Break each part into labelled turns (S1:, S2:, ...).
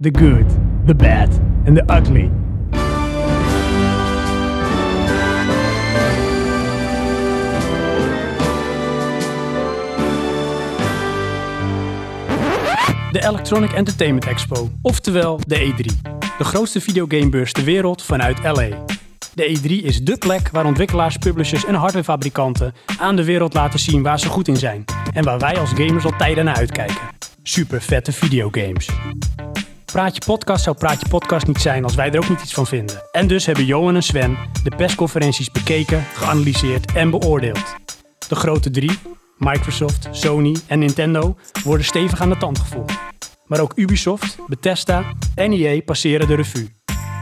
S1: the good, the bad and the ugly. De Electronic Entertainment Expo, oftewel de E3. De grootste videogamebeurs ter wereld vanuit LA. De E3 is dé plek waar ontwikkelaars, publishers en hardwarefabrikanten aan de wereld laten zien waar ze goed in zijn en waar wij als gamers al tijden naar uitkijken. Super vette videogames. Praatje Podcast zou Praatje Podcast niet zijn als wij er ook niet iets van vinden. En dus hebben Johan en Sven de persconferenties bekeken, geanalyseerd en beoordeeld. De grote drie, Microsoft, Sony en Nintendo, worden stevig aan de tand gevoeld. Maar ook Ubisoft, Bethesda en EA passeren de revue.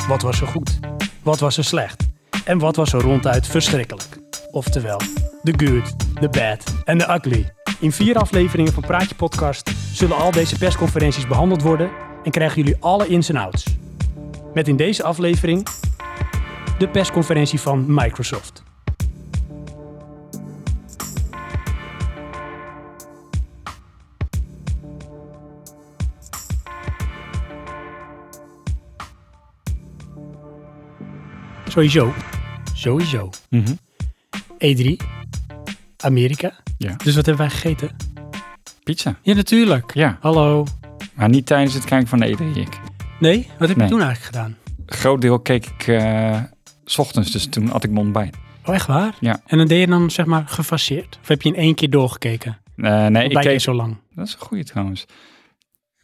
S1: Wat was er goed? Wat was er slecht? En wat was er ronduit verschrikkelijk? Oftewel, the good, the bad en the ugly. In vier afleveringen van Praatje Podcast zullen al deze persconferenties behandeld worden en krijgen jullie alle ins en outs. Met in deze aflevering de persconferentie van Microsoft. Sowieso. Sowieso.
S2: Mhm.
S1: E3. Amerika.
S2: Ja.
S1: Dus wat hebben wij gegeten?
S2: Pizza.
S1: Ja, natuurlijk.
S2: Ja,
S1: Hallo.
S2: maar niet tijdens het kijken van de E3. Ik.
S1: Nee? Wat heb
S2: Nee.
S1: je toen eigenlijk gedaan?
S2: Groot deel keek ik eh, s ochtends, dus toen had ik mijn ontbijt.
S1: Oh, echt waar?
S2: Ja.
S1: En dan deed je dan zeg maar gefaseerd? Of heb je in één keer doorgekeken?
S2: Eh, nee,
S1: Ik
S2: ik keek...
S1: keek zo lang.
S2: Dat is een goeie trouwens.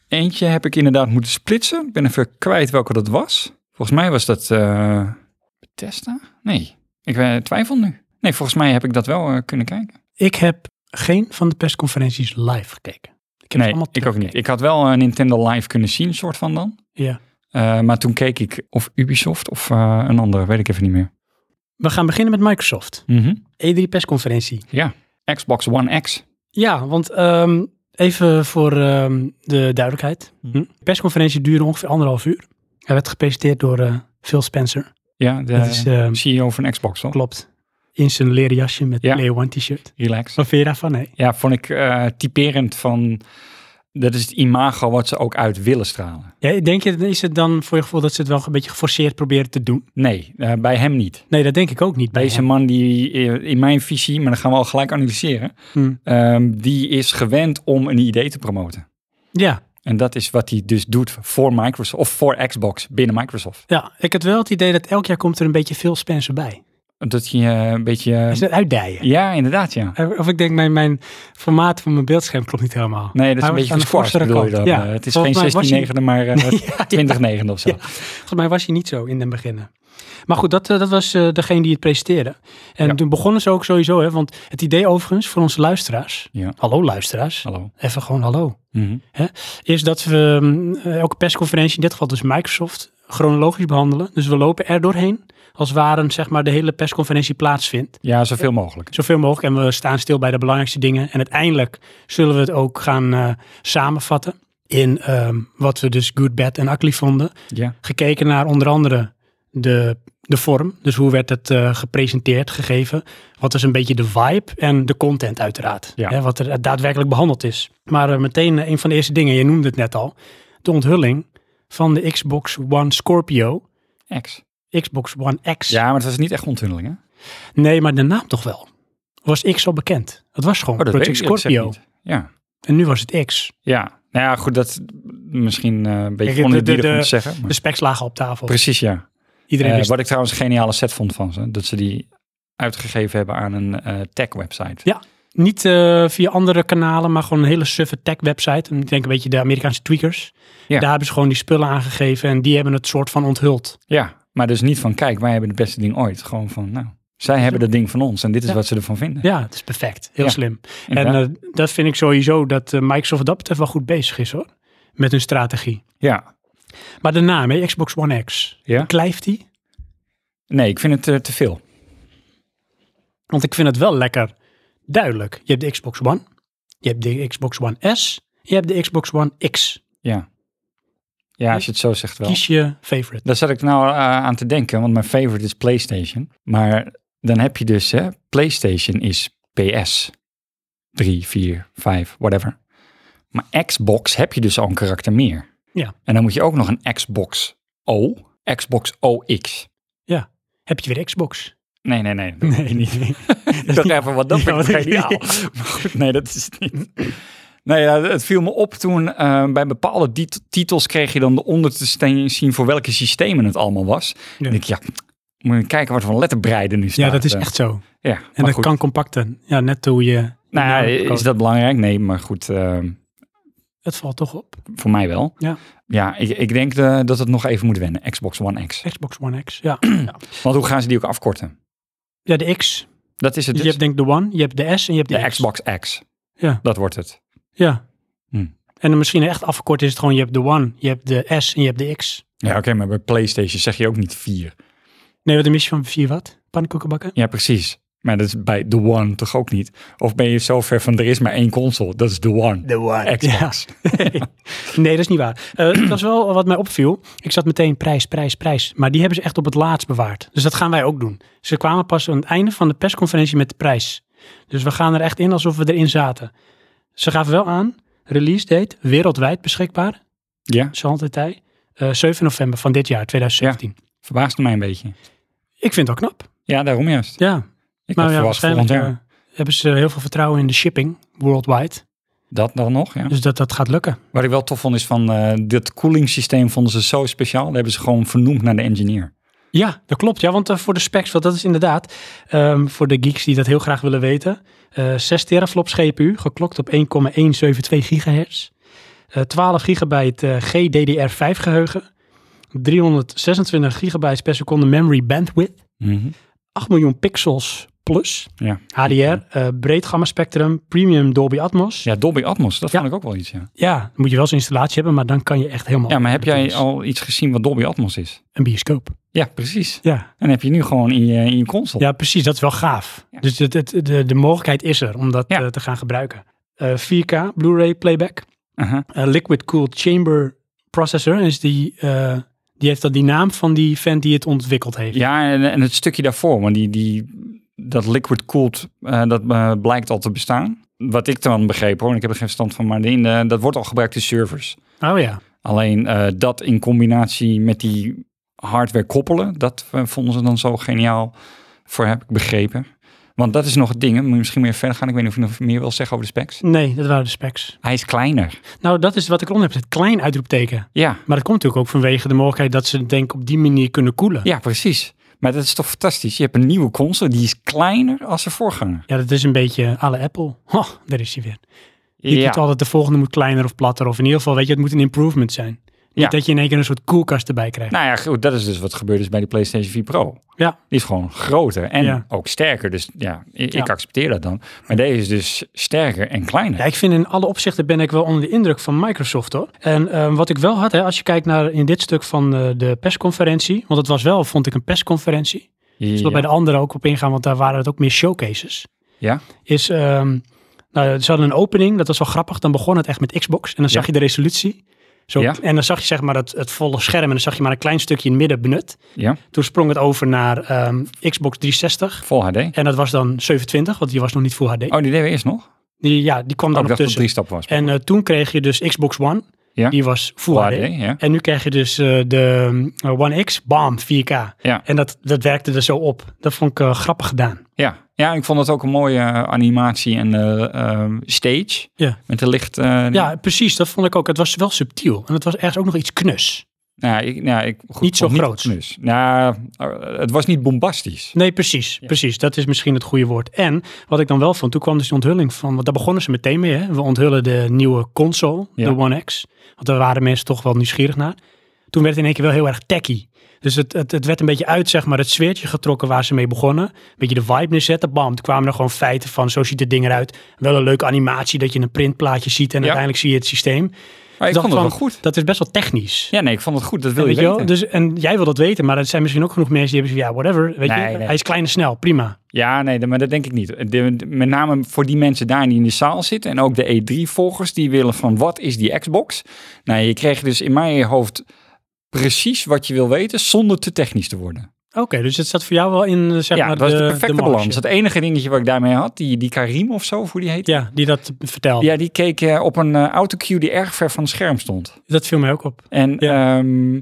S2: Eentje heb ik inderdaad moeten splitsen. Ik ben even kwijt welke dat was. Volgens mij was dat eh Bethesda? Nee, ik eh, twijfel nu. Nee, volgens mij heb ik dat wel eh, kunnen kijken.
S1: Ik heb geen van de persconferenties live gekeken. Ik heb ze
S2: nee,
S1: allemaal
S2: ik ook niet.
S1: teruggekeken.
S2: Ik had wel een Nintendo Live kunnen zien, soort van dan.
S1: Ja.
S2: Eh, maar toen keek ik of Ubisoft of eh, een andere, weet ik even niet meer.
S1: We gaan beginnen met Microsoft.
S2: Mhm.
S1: E3 persconferentie.
S2: Xbox One X.
S1: Ja, want ehm, even voor ehm, de duidelijkheid.
S2: Hm.
S1: Hm? De persconferentie duurde ongeveer anderhalf uur. Hij werd gepresenteerd door eh, Phil Spencer.
S2: Ja, de
S1: Dat is, ehm,
S2: CEO E van Xbox, toch?
S1: klopt. In zijn leren jasje met
S2: Ja.
S1: Player One t-shirt.
S2: Relax.
S1: Wat vind je daarvan? hè?
S2: Ja, vond ik eh, typerend van... Dat is het imago wat ze ook uit willen stralen.
S1: Ja, denk je, is het dan voor je gevoel dat ze het wel een beetje geforceerd proberen te doen?
S2: Nee, eh, bij hem niet.
S1: Nee, dat denk ik ook niet. bij
S2: Deze
S1: hem.
S2: man die eh, in mijn visie, maar dan gaan we al gelijk analyseren,
S1: Hm.
S2: ehm, die is gewend om een idee te promoten.
S1: Ja,
S2: En dat is wat hij dus doet voor Microsoft of voor Xbox binnen Microsoft.
S1: ja, ik had wel het idee dat elk jaar komt er een beetje Phil Spencer bij.
S2: Dat je eh, een beetje... eh,
S1: Hij is net uitdijen.
S2: ja, inderdaad, ja.
S1: Of ik denk, mijn, mijn formaat van mijn beeldscherm klopt niet helemaal.
S2: Nee, dat is
S1: Hij was
S2: een beetje
S1: aan de
S2: gesquashed,
S1: forsere
S2: bedoel je
S1: kant.
S2: dan.
S1: Ja.
S2: Eh, het is
S1: Volgens mij was hij-
S2: geen 16-9e, maar eh, 20-9e of zo.
S1: Ja. Volgens mij was hij niet zo in het begin. Maar goed, dat, eh, dat was eh, degene die het presenteerde. En
S2: Ja.
S1: toen begonnen ze ook sowieso, hè, want het idee overigens voor onze luisteraars.
S2: Ja.
S1: Hallo luisteraars.
S2: Hallo.
S1: Even gewoon hallo.
S2: Mhm.
S1: Is dat we mm, elke persconferentie, in dit geval dus Microsoft, chronologisch behandelen. Dus we lopen er doorheen als waren zeg maar de hele persconferentie plaatsvindt.
S2: Ja, zoveel mogelijk.
S1: Zoveel mogelijk. En we staan stil bij de belangrijkste dingen. En uiteindelijk zullen we het ook gaan eh, samenvatten. In ehm, wat we dus good, bad en ugly vonden.
S2: Ja.
S1: Gekeken naar onder andere de, de vorm. Dus hoe werd het eh, gepresenteerd, gegeven. Wat is een beetje de vibe en de content uiteraard.
S2: Ja.
S1: Hè, wat er daadwerkelijk behandeld is. Maar eh, meteen eh, een van de eerste dingen, je noemde het net al. De onthulling van de Xbox One Scorpio.
S2: X.
S1: Xbox One X.
S2: Ja, maar het was niet echt onthulling, hè?
S1: Oh, Nee, maar de naam toch wel. Was X al bekend? Het was gewoon
S2: Oh, dat
S1: Project
S2: weet ik eerlijk gezegd
S1: Scorpio.
S2: niet. Ja.
S1: En nu was het X.
S2: Ja. Nou ja, goed, dat misschien eh, een beetje
S1: Kijk, de-
S2: oneerbiedig
S1: de-
S2: om
S1: de-
S2: te zeggen. maar-
S1: De specs lagen op tafel.
S2: Precies, ja.
S1: Iedereen
S2: Eh,
S1: wist
S2: wat ik trouwens een geniale set vond van ze. Dat ze die uitgegeven hebben aan een eh, tech-website.
S1: Ja. Niet eh, via andere kanalen, maar gewoon een hele suffe tech website. En ik denk een beetje de Amerikaanse tweakers.
S2: Ja.
S1: Daar hebben ze gewoon die spullen aangegeven en die hebben het soort van onthuld.
S2: Ja, maar dus niet van, kijk, wij hebben het beste ding ooit. Gewoon van, nou, zij hebben dat ding van ons en dit is
S1: Ja.
S2: wat ze ervan vinden.
S1: Ja, het is perfect. Heel
S2: Ja,
S1: slim. En
S2: Inderdaad.
S1: eh, dat vind ik sowieso dat eh, Microsoft wat dat betreft wel goed bezig is hoor. Met hun strategie.
S2: ja.
S1: Maar de naam, hè, Xbox One X.
S2: Ja?
S1: Blijft die?
S2: Nee, ik vind het eh, te veel.
S1: Want ik vind het wel lekker duidelijk. Je hebt de Xbox One. Je hebt de Xbox One S. Je hebt de Xbox One X.
S2: Ja. Ja, als je het zo zegt wel.
S1: Kies je favorite.
S2: Daar zat ik nou eh, aan te denken, want mijn favorite is PlayStation. Maar dan heb je dus, hè, PlayStation is PS. 3, 4, 5, whatever. Maar Xbox heb je dus al een karakter meer.
S1: Ja.
S2: En dan moet je ook nog een Xbox O, Xbox OX.
S1: Heb je weer Xbox?
S2: Nee, nee, nee. Dat weet ik niet. Ik
S1: niet-
S2: dacht even, wat dat
S1: Ja,
S2: vind ik
S1: wat ik-
S2: geniaal. Maar goed, nee, dat is het niet. Nee, ja, het viel me op toen eh, bij bepaalde tit- titels kreeg je dan de onder te steen- zien voor welke systemen het allemaal was.
S1: Ja.
S2: En ik, ja, moet je kijken wat voor letterbreide nu staat.
S1: Ja, dat is
S2: eh.
S1: echt zo.
S2: Ja,
S1: En
S2: maar
S1: dat
S2: goed.
S1: kan compacten. Ja, net hoe je...
S2: Nou, ja,
S1: Nou,
S2: is
S1: koos.
S2: dat belangrijk? Nee, maar goed, eh,
S1: Het valt toch op.
S2: voor mij wel.
S1: Ja.
S2: Ja, ik, ik denk eh, dat het nog even moet wennen, Xbox One X.
S1: Xbox One X, ja.
S2: Want hoe gaan ze die ook afkorten?
S1: Ja, de X.
S2: Dat is het
S1: Je
S2: dus.
S1: hebt denk ik de One, je hebt de S en je hebt de,
S2: de
S1: X.
S2: Xbox X.
S1: Ja.
S2: Dat wordt het.
S1: Ja.
S2: Hm.
S1: En dan misschien echt afgekort is het gewoon, je hebt de One, je hebt de S en je hebt de X.
S2: Ja, oké, maar bij PlayStation zeg je ook niet 4.
S1: Nee, wat een missie van vier wat? Pannenkoekenbakken?
S2: Ja, precies. Maar dat is bij The One toch ook niet? Of ben je zo ver van er is maar één console? Dat is The One.
S1: De One.
S2: Xbox.
S1: Nee, dat is niet waar. Eh, dat is wel wat mij opviel. Ik zat meteen prijs, prijs, prijs. Maar die hebben ze echt op het laatst bewaard. Dus dat gaan wij ook doen. Ze kwamen pas aan het einde van de persconferentie met de prijs. Dus we gaan er echt in alsof we erin zaten. Ze gaven wel aan, release date, wereldwijd beschikbaar.
S2: Ja,
S1: Zoals het hij. eh, 7 november van dit jaar, 2017.
S2: verbaasde mij een beetje.
S1: Ik vind dat knap.
S2: Ja, daarom juist.
S1: Ja,
S2: Ik
S1: maar
S2: had
S1: Nou ja,
S2: verwacht
S1: waarschijnlijk
S2: volgend jaar.
S1: eh, hebben ze heel veel vertrouwen in de shipping, worldwide.
S2: Dat dan nog, ja.
S1: Dus dat dat gaat lukken.
S2: Wat ik wel tof vond is van eh dat cooling systeem vonden ze zo speciaal. Dat hebben ze gewoon vernoemd naar de engineer.
S1: Ja, dat klopt. Ja, want eh, voor de specs, want dat is inderdaad, ehm, voor de geeks die dat heel graag willen weten, eh 6 teraflops GPU, geklokt op 1,172 gigahertz, Eh 12 gigabyte eh, GDDR5 geheugen, 326 gigabytes per seconde memory bandwidth,
S2: Mhm.
S1: 8 miljoen pixels plus,
S2: Ja.
S1: HDR, eh, breed gamma spectrum, premium Dolby Atmos. Ja.
S2: ja, Dolby Atmos, dat
S1: Ja.
S2: vond ik ook wel iets, ja.
S1: dan moet je wel zijn installatie hebben, maar dan kan je echt helemaal...
S2: Ja, maar heb jij
S1: Precies.
S2: al iets gezien wat Dolby Atmos is?
S1: Een bioscoop.
S2: Ja, precies.
S1: Ja.
S2: En heb je nu gewoon in je, in je console.
S1: ja, precies. Dat is wel gaaf.
S2: Ja.
S1: Dus het, het- de, de mogelijkheid is er om dat
S2: Ja.
S1: eh, te gaan gebruiken. Eh, 4K Blu-ray playback.
S2: Aha.
S1: Eh, liquid cooled chamber processor is die, eh, die heeft dat die naam van die vent die het ontwikkeld heeft.
S2: Ja, en, en het stukje daarvoor, want die, die, dat liquid cooled, eh, dat eh, blijkt al te bestaan. Wat ik dan begreep hoor, en ik heb er geen verstand van, maar in, eh, dat wordt al gebruikt in servers.
S1: Oh ja.
S2: Alleen eh, dat in combinatie met die hardware koppelen, dat eh, vonden ze dan zo geniaal voor, heb ik begrepen. Want dat is nog het ding, hè. moet je misschien meer verder gaan. Ik weet niet of je nog meer wil zeggen over de specs.
S1: Nee, dat waren de specs.
S2: Hij is kleiner.
S1: Nou, dat is wat ik eronder heb. Het klein uitroepteken.
S2: Ja,
S1: Maar dat komt natuurlijk ook vanwege de mogelijkheid dat ze denk ik op die manier kunnen koelen.
S2: ja precies. Maar dat is toch fantastisch. Je hebt een nieuwe console, die is kleiner als de voorganger.
S1: Ja, dat is een beetje alle Apple. Oh, daar is hij weer. Je
S2: ja.
S1: doet altijd de volgende moet kleiner of platter. Of in ieder geval, weet je, het moet een improvement zijn. Niet
S2: Ja.
S1: dat je in één keer een soort koelkast erbij krijgt.
S2: Nou ja, goed, dat is dus wat gebeurd is bij die PlayStation 4 Pro.
S1: Ja.
S2: Die is gewoon groter en
S1: Ja.
S2: ook sterker. Dus ja, i- ik,
S1: Ja.
S2: accepteer dat dan. Maar deze is dus sterker en kleiner.
S1: Ja, ik vind in alle opzichten ben ik wel onder de indruk van Microsoft hoor. En ehm, wat ik wel had, hè, als je kijkt naar in dit stuk van eh, de persconferentie. Want het was wel, vond ik, een persconferentie. Ik
S2: Ja.
S1: zal bij de andere ook op ingaan, want daar waren het ook meer showcases.
S2: Ja.
S1: Is, ehm, nou, ze hadden een opening, dat was wel grappig. Dan begon het echt met Xbox en dan zag
S2: Ja.
S1: je de resolutie. Zo,
S2: Ja.
S1: En dan zag je zeg maar het, het volle scherm en dan zag je maar een klein stukje in het midden benut.
S2: Ja,
S1: Toen sprong het over naar ehm, Xbox 360.
S2: Vol HD.
S1: En dat was dan 27, want die was nog niet Full HD.
S2: Oh, die deden we eerst nog? Oh,
S1: Die, ja, die kwam
S2: ik
S1: dan nog
S2: dacht dat het
S1: tussen.
S2: drie stap was.
S1: En eh, toen kreeg je dus Xbox One.
S2: Ja.
S1: Die was Full,
S2: Vol
S1: HD.
S2: HD, ja.
S1: En nu krijg je dus eh, de ehm, One X, bam, 4K.
S2: Ja.
S1: En dat, dat werkte er zo op. Dat vond ik eh, grappig
S2: Mm.
S1: gedaan.
S2: ja. Ja, ik vond het ook een mooie eh, animatie en eh, ehm, stage.
S1: Ja.
S2: Met de licht... eh,
S1: Ja, precies. Dat vond ik ook. Het was wel subtiel. En het was ergens ook nog iets knus.
S2: Nou, ik, nou, ik, goed,
S1: Niet zo
S2: vond
S1: groots.
S2: knus. Nou, eh, het was niet bombastisch.
S1: Nee, precies. Precies. Dat is misschien het goede woord. En wat ik dan wel vond, toen kwam dus die onthulling van... Want daar begonnen ze meteen mee. Hè? We onthullen de nieuwe console,
S2: Ja.
S1: de One X. Want daar waren mensen toch wel nieuwsgierig naar. Toen werd het in één keer wel heel erg techy. Dus het, het, het werd een beetje uit, zeg maar, het zweertje getrokken waar ze mee begonnen. Een beetje de vibe neerzetten. Bam, toen kwamen er gewoon feiten van, zo ziet het ding eruit. Wel een leuke animatie dat je een printplaatje ziet en
S2: Ja.
S1: uiteindelijk zie je het systeem. Dus
S2: Maar
S1: dacht
S2: ik vond het wel
S1: van,
S2: goed.
S1: Dat is best wel technisch.
S2: Ja, nee, ik vond het goed. Dat wil je
S1: Weet je wel?
S2: weten.
S1: Dus, en jij wil dat weten, maar er zijn misschien ook genoeg mensen die hebben zoiets van, ja, whatever. Weet
S2: Nee,
S1: je?
S2: nee.
S1: Hij is klein en snel, prima.
S2: Ja, nee, dat- maar dat denk ik niet. De- de- met name voor die mensen daar die in de zaal zitten en ook de E3-volgers die willen van wat is die Xbox? Nou, je kreeg dus in mijn hoofd precies wat je wil weten zonder te technisch te worden.
S1: Oké, dus het staat voor jou wel in eh, zeg
S2: ja,
S1: maar
S2: dat was de perfecte
S1: marge.
S2: balans. Het enige dingetje wat ik daarmee had, die, die Karim of zo, of hoe die heet.
S1: Ja, die dat vertelt.
S2: Ja, die keek eh, op een eh, autocue die erg ver van het scherm stond.
S1: Dat viel mij ook op.
S2: En
S1: Ja.
S2: ehm,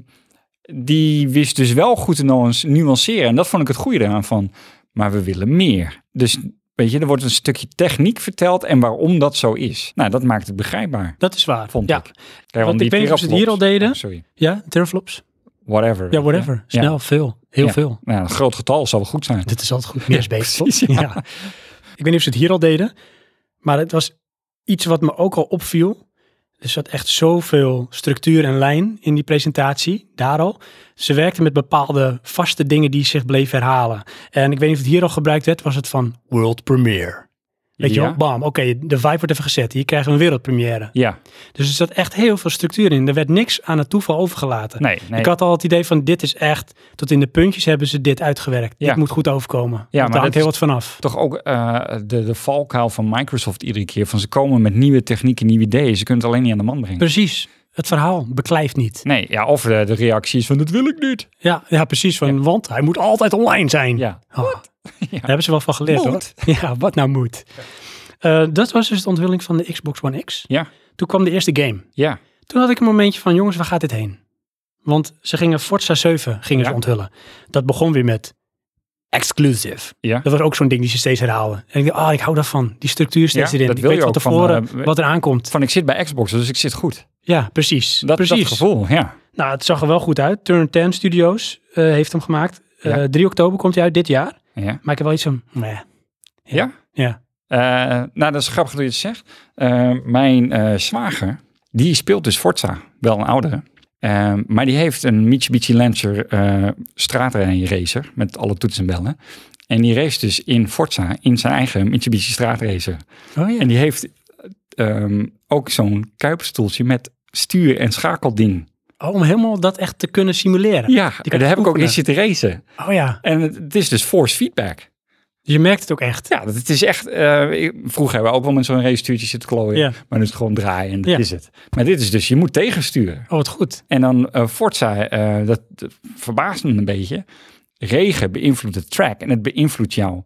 S2: die wist dus wel goed te nuance- nuanceren. En dat vond ik het goede eraan van. Maar we willen meer. Dus weet je, er wordt een stukje techniek verteld en waarom dat zo is. Nou, dat maakt het begrijpbaar,
S1: Dat is waar.
S2: vond
S1: ja.
S2: ik. Kijk,
S1: Want
S2: want
S1: ik weet niet of ze het
S2: teraflops-
S1: hier al deden.
S2: Oh, sorry,
S1: Ja, teraflops.
S2: whatever.
S1: Ja, whatever.
S2: Ja.
S1: Snel, veel. Heel
S2: Ja.
S1: veel.
S2: Nou, een groot getal zal wel goed zijn.
S1: Dit is altijd goed. Meer is beter, toch?
S2: precies, ja.
S1: Ik weet niet of ze het hier al deden, maar het was iets wat me ook al opviel. Er zat echt zoveel structuur en lijn in die presentatie, daar al. Ze werkten met bepaalde vaste dingen die zich bleven herhalen. En ik weet niet of het hier al gebruikt werd, was het van world premiere. Weet je
S2: Ja.
S1: wel, bam, oké, de vibe wordt even gezet. Hier krijgen we een wereldpremière.
S2: Ja,
S1: Dus er zat echt heel veel structuur in. Er werd niks aan het toeval overgelaten.
S2: nee, nee.
S1: Ik had al het idee van dit is echt, tot in de puntjes hebben ze dit uitgewerkt.
S2: Ja.
S1: Dit moet goed overkomen. Ja, maar
S2: maar
S1: daar hangt
S2: dat
S1: heel
S2: is-
S1: wat van af.
S2: Toch ook eh, de, de valkuil van Microsoft iedere keer. Van ze komen met nieuwe technieken, nieuwe ideeën. Ze kunnen het alleen niet aan de man brengen.
S1: Precies. Het verhaal beklijft niet.
S2: Nee, ja, of de, de reacties van dat wil ik niet.
S1: Ja, ja precies. Van, Want hij moet altijd online zijn.
S2: Ja,
S1: Oh, Daar hebben ze wel van geleerd
S2: Moet.
S1: hoor. Ja, wat nou moet. Eh, dat was dus de onthulling van de Xbox One X.
S2: Ja.
S1: Toen kwam de eerste game.
S2: ja.
S1: Toen had ik een momentje van jongens, waar gaat dit heen? Want ze gingen Forza 7 gingen
S2: Ja.
S1: ze onthullen. Dat begon weer met exclusive.
S2: Ja.
S1: Dat was ook zo'n ding die ze steeds herhaalden. En ik dacht, ah, ik hou daarvan. Die structuur steeds
S2: Ja,
S1: erin.
S2: dat
S1: Ik
S2: wil
S1: weet
S2: je
S1: van
S2: ook van,
S1: tevoren
S2: eh,
S1: wat er aankomt.
S2: Van ik zit bij Xbox, dus ik zit goed.
S1: Ja, precies.
S2: Dat,
S1: precies.
S2: dat gevoel, ja.
S1: Nou, het zag er wel goed uit. Turn 10 Studios eh, heeft hem gemaakt. Eh,
S2: Ja.
S1: 3 oktober komt hij uit dit jaar.
S2: ja.
S1: Maar ik heb wel iets van... meh.
S2: Ja?
S1: Ja.
S2: Eh, nou, dat is grappig dat je het zegt. Eh, mijn eh, zwager, die speelt dus Forza. Wel een oudere. Eh, maar die heeft een Mitsubishi Lancer eh straatracer met alle toetsen en bellen. En die race dus in Forza, in zijn eigen Mitsubishi straatracer.
S1: Oh ja.
S2: En die heeft eh, ehm, ook zo'n kuipstoeltje met stuur- en schakelding.
S1: Oh, om helemaal dat echt te kunnen simuleren.
S2: Ja,
S1: je
S2: en daar heb ik ook
S1: oefenen.
S2: in zitten racen.
S1: Oh ja.
S2: En het, het is dus force feedback.
S1: Dus je merkt het ook echt.
S2: Ja, dat, het is echt... eh, ik- vroeger hebben we ook wel met zo'n racestuurtje zitten klooien.
S1: Ja.
S2: Maar nu is het gewoon draaien en dat
S1: Ja.
S2: is het. Maar dit is dus, je moet tegensturen.
S1: Oh, wat goed.
S2: En dan eh Forza, eh, dat, dat verbaast me een beetje. Regen beïnvloedt de track en het beïnvloedt jouw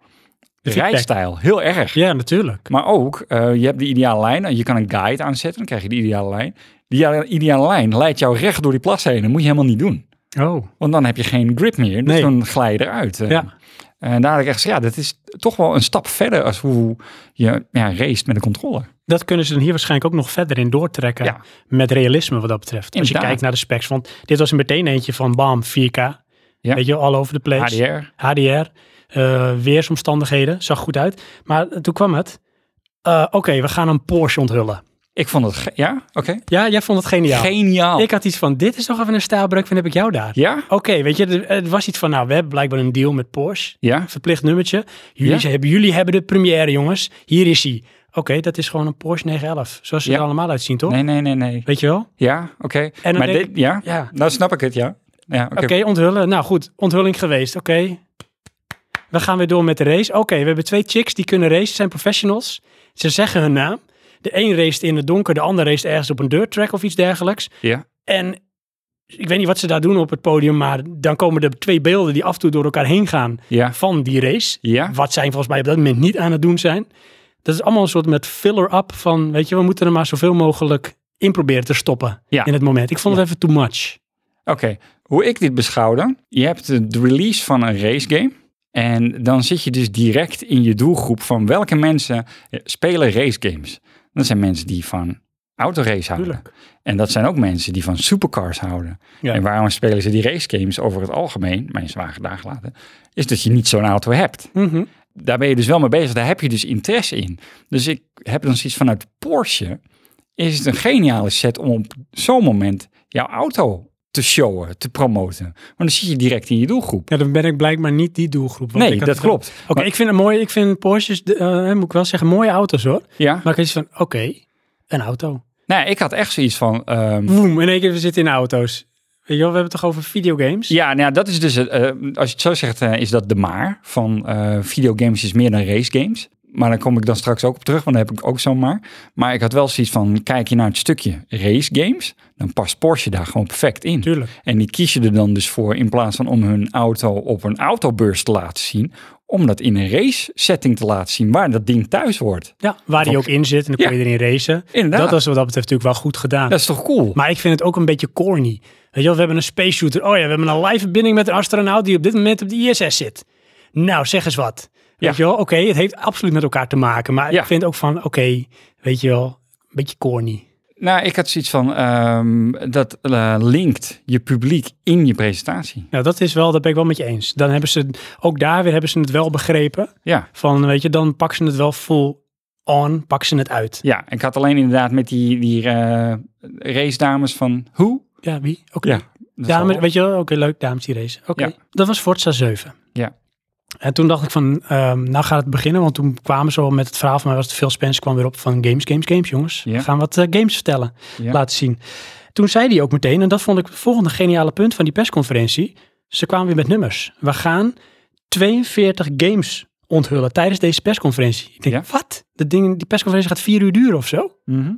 S1: feedback.
S2: rijstijl heel erg.
S1: Ja, natuurlijk.
S2: Maar ook, eh, je hebt de ideale lijn. en Je kan een guide aanzetten, dan krijg je de ideale lijn. Die ideale lijn leidt jou recht door die plas heen. Dat moet je helemaal niet doen.
S1: Oh.
S2: Want dan heb je geen grip meer. Dus
S1: Nee.
S2: dan glij je eruit. Eh,
S1: Ja.
S2: En daar had ik echt gezegd, ja, dat is toch wel een stap verder als hoe je ja, race met een controller.
S1: Dat kunnen ze dan hier waarschijnlijk ook nog verder in doortrekken.
S2: Ja.
S1: Met realisme wat dat betreft. Als je
S2: Inderdaad.
S1: kijkt naar de specs. Want dit was er meteen eentje van bam, 4K.
S2: Ja.
S1: Weet je, all over the place.
S2: HDR.
S1: HDR, eh, weersomstandigheden, zag goed uit. Maar toen kwam het. eh, Oké, we gaan een Porsche onthullen.
S2: Ik vond het, ge- ja, oké.
S1: Ja, jij vond het geniaal.
S2: Geniaal.
S1: Ik had iets van, dit is toch even een staalbreuk, van heb ik jou daar?
S2: Ja?
S1: Oké, weet je, er, er was iets van, nou, we hebben blijkbaar een deal met Porsche.
S2: Ja?
S1: Verplicht nummertje. Jullie,
S2: Ja.
S1: ze hebben, jullie hebben de première, jongens. Hier is hij. Oké, dat is gewoon een Porsche 911, zoals ze
S2: Ja.
S1: er allemaal uitzien, toch?
S2: Nee, nee, nee, nee.
S1: Weet je wel?
S2: Ja, oké.
S1: dan
S2: Maar
S1: denk
S2: dit, ja?
S1: Ja.
S2: Nou snap ik het, ja. Ja, oké.
S1: Oké, onthullen. Nou goed, onthulling geweest. Oké. We gaan weer door met de race. Oké, we hebben twee chicks die kunnen racen, zijn professionals. Ze zeggen hun naam. De een race in het donker, de ander race ergens op een dirt track of iets dergelijks.
S2: Ja.
S1: En ik weet niet wat ze daar doen op het podium, maar dan komen er twee beelden die af en toe door elkaar heen gaan
S2: Ja.
S1: van die race.
S2: Ja.
S1: Wat zij volgens mij op dat moment niet aan het doen zijn. Dat is allemaal een soort met filler-up van, weet je, we moeten er maar zoveel mogelijk in proberen te stoppen
S2: Ja.
S1: in het moment. Ik vond het even too much.
S2: Oké, hoe ik dit beschouwde, je hebt de de release van een racegame en dan zit je dus direct in je doelgroep van welke mensen eh, spelen racegames. Dat zijn mensen die van autorace houden.
S1: Tuurlijk.
S2: En dat zijn ook mensen die van supercars houden.
S1: Ja.
S2: En waarom spelen ze die racegames over het algemeen, mijn zwager daar gelaten, is dat je niet zo'n auto hebt.
S1: Mhm.
S2: Daar ben je dus wel mee bezig, daar heb je dus interesse in. Dus ik heb dan zoiets vanuit Porsche, is het een geniale set om op zo'n moment jouw auto te showen, te promoten. Want dan zit je direct in je doelgroep.
S1: Ja, dan ben ik blijkbaar niet die doelgroep. want
S2: nee,
S1: ik had
S2: dat
S1: het wel-
S2: klopt.
S1: Oké, ik vind het mooi. Ik vind Porsches, de- eh, moet ik wel zeggen, mooie auto's hoor.
S2: Ja,
S1: Maar ik had iets van, oké, een auto.
S2: nou, ik had echt zoiets van, ehm,
S1: Woem, in één keer we zitten in auto's. Weet je wel, we hebben het toch over videogames?
S2: Ja, nou ja, dat is dus, het, eh, als je het zo zegt, eh, is dat de maar van eh, videogames is meer dan racegames. Maar daar kom ik dan straks ook op terug, want daar heb ik ook zomaar. Maar ik had wel zoiets van, kijk je naar het stukje race games, dan past Porsche daar gewoon perfect in.
S1: Tuurlijk.
S2: En die kies je er dan dus voor in plaats van om hun auto op een autobeurs te laten zien, om dat in een race setting te laten zien waar dat ding thuis hoort.
S1: Ja, waar die ook in zit en dan kun je erin racen.
S2: Inderdaad.
S1: Dat was wat dat betreft natuurlijk wel goed gedaan.
S2: Dat is toch cool?
S1: Maar ik vind het ook een beetje corny. Weet je wel, we hebben een space shooter. Oh ja, we hebben een live verbinding met een astronaut die op dit moment op de ISS zit. Nou, zeg eens wat.
S2: Ja.
S1: Weet je wel, oké, het heeft absoluut met elkaar te maken. Maar
S2: Ja.
S1: ik vind ook van, oké, weet je wel, een beetje corny.
S2: Nou, ik had zoiets van, ehm, dat eh, linkt je publiek in je presentatie.
S1: Nou, dat is wel, dat ben ik wel met je eens. Dan hebben ze, ook daar weer hebben ze het wel begrepen.
S2: Ja.
S1: Van, weet je, dan pakken ze het wel full on, pakken ze het uit.
S2: Ja, ik had alleen inderdaad met die, die eh, race dames van hoe?
S1: Ja, wie? Oké.
S2: Ja, Dat is
S1: Dames,
S2: wel-
S1: weet je wel, oké, leuk, dames die race. Oké,
S2: Ja.
S1: dat was Forza 7.
S2: Ja.
S1: En toen dacht ik van, ehm, nou gaat het beginnen, want toen kwamen ze al met het verhaal van mij was het Phil Spencer kwam weer op van games, games, games, jongens.
S2: Ja.
S1: We gaan wat eh, games vertellen,
S2: Ja.
S1: laten zien. Toen zei hij ook meteen, en dat vond ik het volgende geniale punt van die persconferentie, ze kwamen weer met nummers. We gaan 42 games onthullen tijdens deze persconferentie. Ik denk,
S2: Ja.
S1: wat? Dat ding, die persconferentie gaat vier uur duren of zo?
S2: Mhm.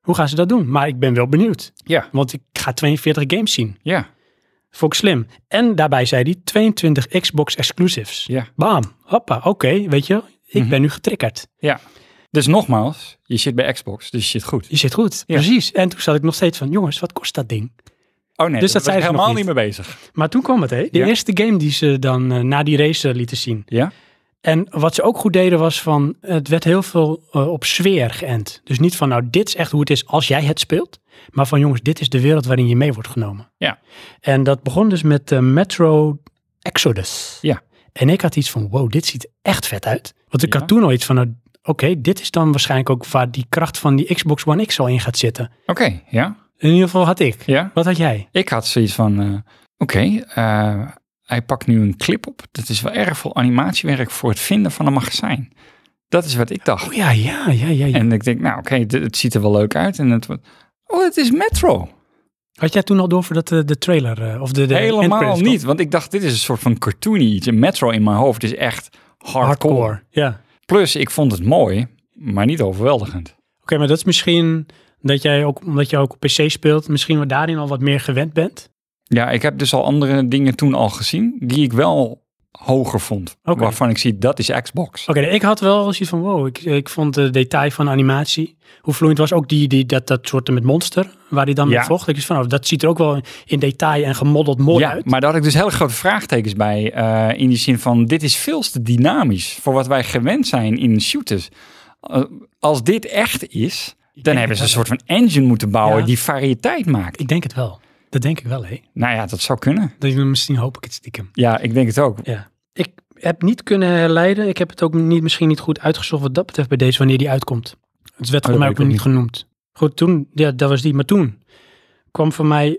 S1: Hoe gaan ze dat doen? Maar ik ben wel benieuwd,
S2: ja,
S1: want ik ga 42 games zien.
S2: ja,
S1: Vond ik slim. En daarbij zei hij 22 Xbox exclusives.
S2: ja, Mhm.
S1: Bam. Hoppa. Oké, weet je, ik ben nu getriggerd.
S2: ja. Dus nogmaals, je zit bij Xbox, dus je zit goed.
S1: Je zit goed.
S2: Ja.
S1: Precies. En toen zat ik nog steeds van, jongens, wat kost dat ding?
S2: Oh nee,
S1: Dus dat
S2: daar was
S1: zijn
S2: ik
S1: ze nog
S2: helemaal
S1: niet.
S2: niet mee bezig.
S1: Maar toen kwam het, hè? De
S2: Ja.
S1: eerste game die ze dan eh, na die race eh, lieten zien.
S2: Ja?
S1: En wat ze ook goed deden was van, het werd heel veel eh, op sfeer geënt. Dus niet van, nou, dit is echt hoe het is als jij het speelt. Maar van, jongens, dit is de wereld waarin je mee wordt genomen.
S2: Ja.
S1: En dat begon dus met eh, Metro Exodus.
S2: Ja.
S1: En ik had iets van, wow, dit ziet echt vet uit. Want ik
S2: Ja.
S1: had toen al iets van, nou, oké, dit is dan waarschijnlijk ook waar die kracht van die Xbox One X al in gaat zitten.
S2: Oké, ja,
S1: In ieder geval had ik.
S2: ja.
S1: Wat had jij?
S2: Ik had zoiets van, eh, oké, eh, hij pakt nu een clip op. Dat is wel erg veel animatiewerk voor het vinden van een magazijn. Dat is wat ik dacht.
S1: Oh ja, ja, ja, ja. ja.
S2: En ik denk, nou oké, dit- het ziet er wel leuk uit. En het wordt, oh, het is Metro.
S1: Had jij toen al door voor dat, eh, de trailer eh, of de, de
S2: Helemaal
S1: endcredits?
S2: niet, want ik dacht, dit is een soort van cartoony iets. Een metro in mijn hoofd is echt hardcore.
S1: Hardcore. Ja.
S2: Plus, ik vond het mooi, maar niet overweldigend.
S1: Oké, maar dat is misschien dat jij ook, omdat je ook op PC speelt, misschien wat daarin al wat meer gewend bent.
S2: Ja, ik heb dus al andere dingen toen al gezien, die ik wel hoger vond.
S1: Oké.
S2: Waarvan ik zie, dat is Xbox.
S1: Oké, ik had wel zoiets van, wow, ik, ik vond de detail van animatie, hoe vloeiend was ook die, die, dat, dat soort met monster, waar hij dan
S2: Ja.
S1: mee vocht. Ik was van, oh, dat ziet er ook wel in detail en gemodeld mooi
S2: ja,
S1: uit.
S2: maar daar had ik dus hele grote vraagtekens bij. eh, in die zin van, dit is veel te dynamisch voor wat wij gewend zijn in shooters. Eh, als dit echt is, dan hebben ze een soort van engine moeten bouwen
S1: Ja.
S2: die variëteit maakt.
S1: Ik denk het wel. Dat denk ik wel, hé.
S2: Nou ja, dat zou kunnen.
S1: Dat, misschien hoop ik het stiekem.
S2: Ja, ik denk het ook.
S1: Ja. Ik heb niet kunnen herleiden. Ik heb het ook niet, misschien niet goed uitgezocht wat dat betreft bij deze, wanneer die uitkomt. Het werd
S2: Oh, dat
S1: voor mij
S2: weet
S1: ook
S2: ik
S1: nog niet genoemd. Goed, toen, ja, dat was die. Maar toen kwam voor mij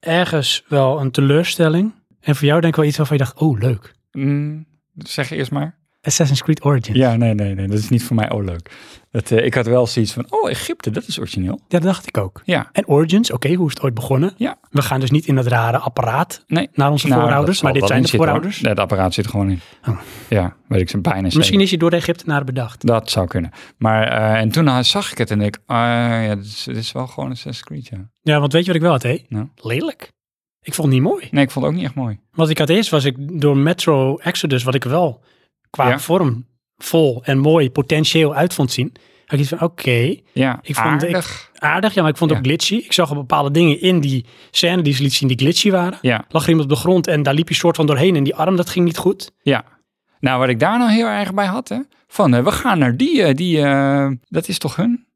S1: ergens wel een teleurstelling. En voor jou denk ik wel iets waarvan je dacht, oh leuk.
S2: Mm, zeg eerst maar.
S1: Assassin's Creed Origins.
S2: Ja, nee, nee, nee. Dat is niet voor mij oh leuk. Dat, eh, ik had wel zoiets van, oh, Egypte, dat is origineel.
S1: Ja, dat dacht ik ook.
S2: Ja.
S1: En Origins, oké, hoe is het ooit begonnen?
S2: Ja.
S1: We gaan dus niet in dat rare apparaat
S2: Nee.
S1: naar onze
S2: Nou, dat
S1: voorouders,
S2: zal
S1: maar dit
S2: wel
S1: zijn
S2: in
S1: de
S2: zitten, hoor.
S1: voorouders.
S2: Nee, dat apparaat zit er gewoon in.
S1: Oh.
S2: Ja, weet ik ze bijna
S1: Misschien
S2: zeker.
S1: is hij door de Egyptenaren bedacht.
S2: Dat zou kunnen. Maar, eh, en toen had- zag ik het en ik, ah ja, dit is, dit is wel gewoon een Assassin's Creed, ja.
S1: Ja, want weet je wat ik wel had, hé?
S2: Nou.
S1: Lelijk. Ik vond het niet mooi.
S2: Nee, ik vond het ook niet echt mooi.
S1: Want ik had eerst was ik door Metro Exodus, wat ik wel qua
S2: Ja.
S1: vorm vol en mooi potentieel uit vond zien. Had ik iets van, oké,
S2: Ja,
S1: Ik vond- ik-
S2: aardig.
S1: aardig. Ja, maar ik vond het ook glitchy. Ik zag al bepaalde dingen in die scène die ze liet zien die glitchy waren.
S2: Ja,
S1: Lag er iemand op de grond en daar liep je soort van doorheen en die arm, dat ging niet goed.
S2: ja. Nou, wat ik daar nou heel erg bij had, hè. Van, eh, we gaan naar die, eh, die eh, dat is toch hun?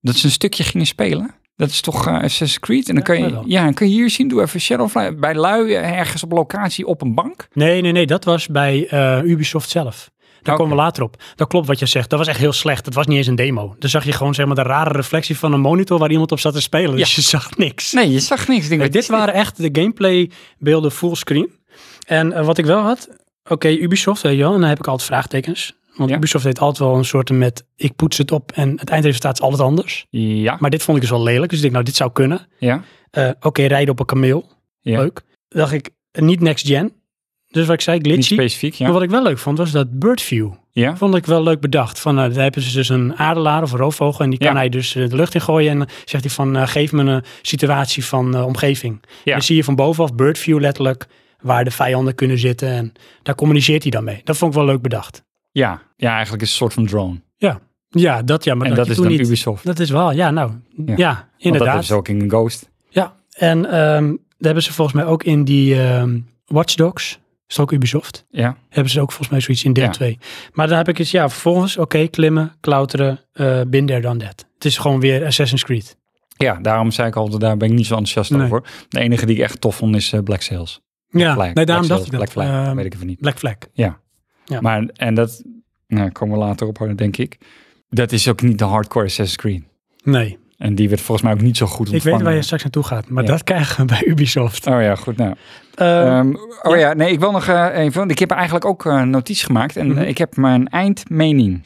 S2: Dat ze een stukje gingen spelen. Dat is toch eh Assassin's Creed? En dan
S1: Ja,
S2: kan,
S1: wel.
S2: je, ja, dan kun je hier zien, doe even Shadowfly. Bij lui eh, ergens op locatie op een bank.
S1: Nee, nee, nee, dat was bij eh, Ubisoft zelf. Daar
S2: Nou, Oké.
S1: komen we later op. Dat klopt wat je zegt. Dat was echt heel slecht. Dat was niet eens een demo. Dan zag je gewoon zeg maar de rare reflectie van een monitor waar iemand op zat te spelen. Dus je zag niks.
S2: Nee, je zag niks. Ik Denk,
S1: Nee,
S2: wat
S1: dit
S2: is dit?
S1: waren echt de gameplay beelden fullscreen. En eh, wat ik wel had, oké, Ubisoft, weet je wel, en dan heb ik altijd vraagtekens. Want
S2: Ja.
S1: Ubisoft heeft altijd wel een soort met, ik poets het op en het eindresultaat is altijd anders.
S2: Ja,
S1: Maar dit vond ik dus wel lelijk, dus ik denk, nou, dit zou kunnen.
S2: ja,
S1: Eh, oké, rijden op een kameel,
S2: ja.
S1: leuk. Dacht ik, niet next gen. Dus wat ik zei,
S2: Niet
S1: glitchy.
S2: specifiek, ja.
S1: Maar wat ik wel leuk vond, was dat bird view.
S2: Ja,
S1: Vond ik wel leuk bedacht. Van, eh, daar hebben ze dus een adelaar of een roofvogel. En die kan
S2: Ja.
S1: hij dus eh, de lucht in gooien. En dan zegt hij van, eh, geef me een situatie van eh, omgeving.
S2: Ja.
S1: Dan zie je van bovenaf bird view letterlijk waar de vijanden kunnen zitten. En daar communiceert hij dan mee. Dat vond ik wel leuk bedacht.
S2: ja. ja, eigenlijk is het een soort van drone.
S1: Ja, dat ja, maar
S2: en
S1: dat,
S2: dat
S1: je
S2: is
S1: toen
S2: dan
S1: niet.
S2: Ubisoft.
S1: Dat is wel, ja, nou, ja,
S2: Ja. Want dat
S1: inderdaad.
S2: is ook in een Ghost.
S1: Ja, en ehm daar hebben ze volgens mij ook in die ehm Watch Dogs, is ook Ubisoft,
S2: Ja,
S1: hebben ze ook volgens mij zoiets in deel
S2: Ja.
S1: 2. Maar dan heb ik eens, ja, vervolgens, oké, klimmen, klauteren, eh been there, done that. Het is gewoon weer Assassin's Creed.
S2: ja daarom zei ik al, daar ben ik niet zo enthousiast
S1: Nee.
S2: over. De enige die ik echt tof vond is eh, Black Sails.
S1: Ja,
S2: Flag,
S1: nee, daarom
S2: Black
S1: dacht ik
S2: Sails,
S1: dat.
S2: Black Flag,
S1: Ehm,
S2: weet ik even niet.
S1: Black Flag. Ja.
S2: Maar, en dat, nou, komen we later op, hoor, denk ik. Dat is ook niet de hardcore Assassin's Creed.
S1: Nee,
S2: En die werd volgens mij ook niet zo goed
S1: ik
S2: ontvangen.
S1: weet waar je straks naartoe gaat, maar
S2: Ja.
S1: dat krijgen we bij Ubisoft.
S2: Oh ja, goed nou.
S1: Ehm,
S2: Ehm, oh ja. nee, ik wil nog eh, even, want ik heb eigenlijk ook eh, notities gemaakt. En
S1: Mhm.
S2: eh, ik heb mijn eindmening.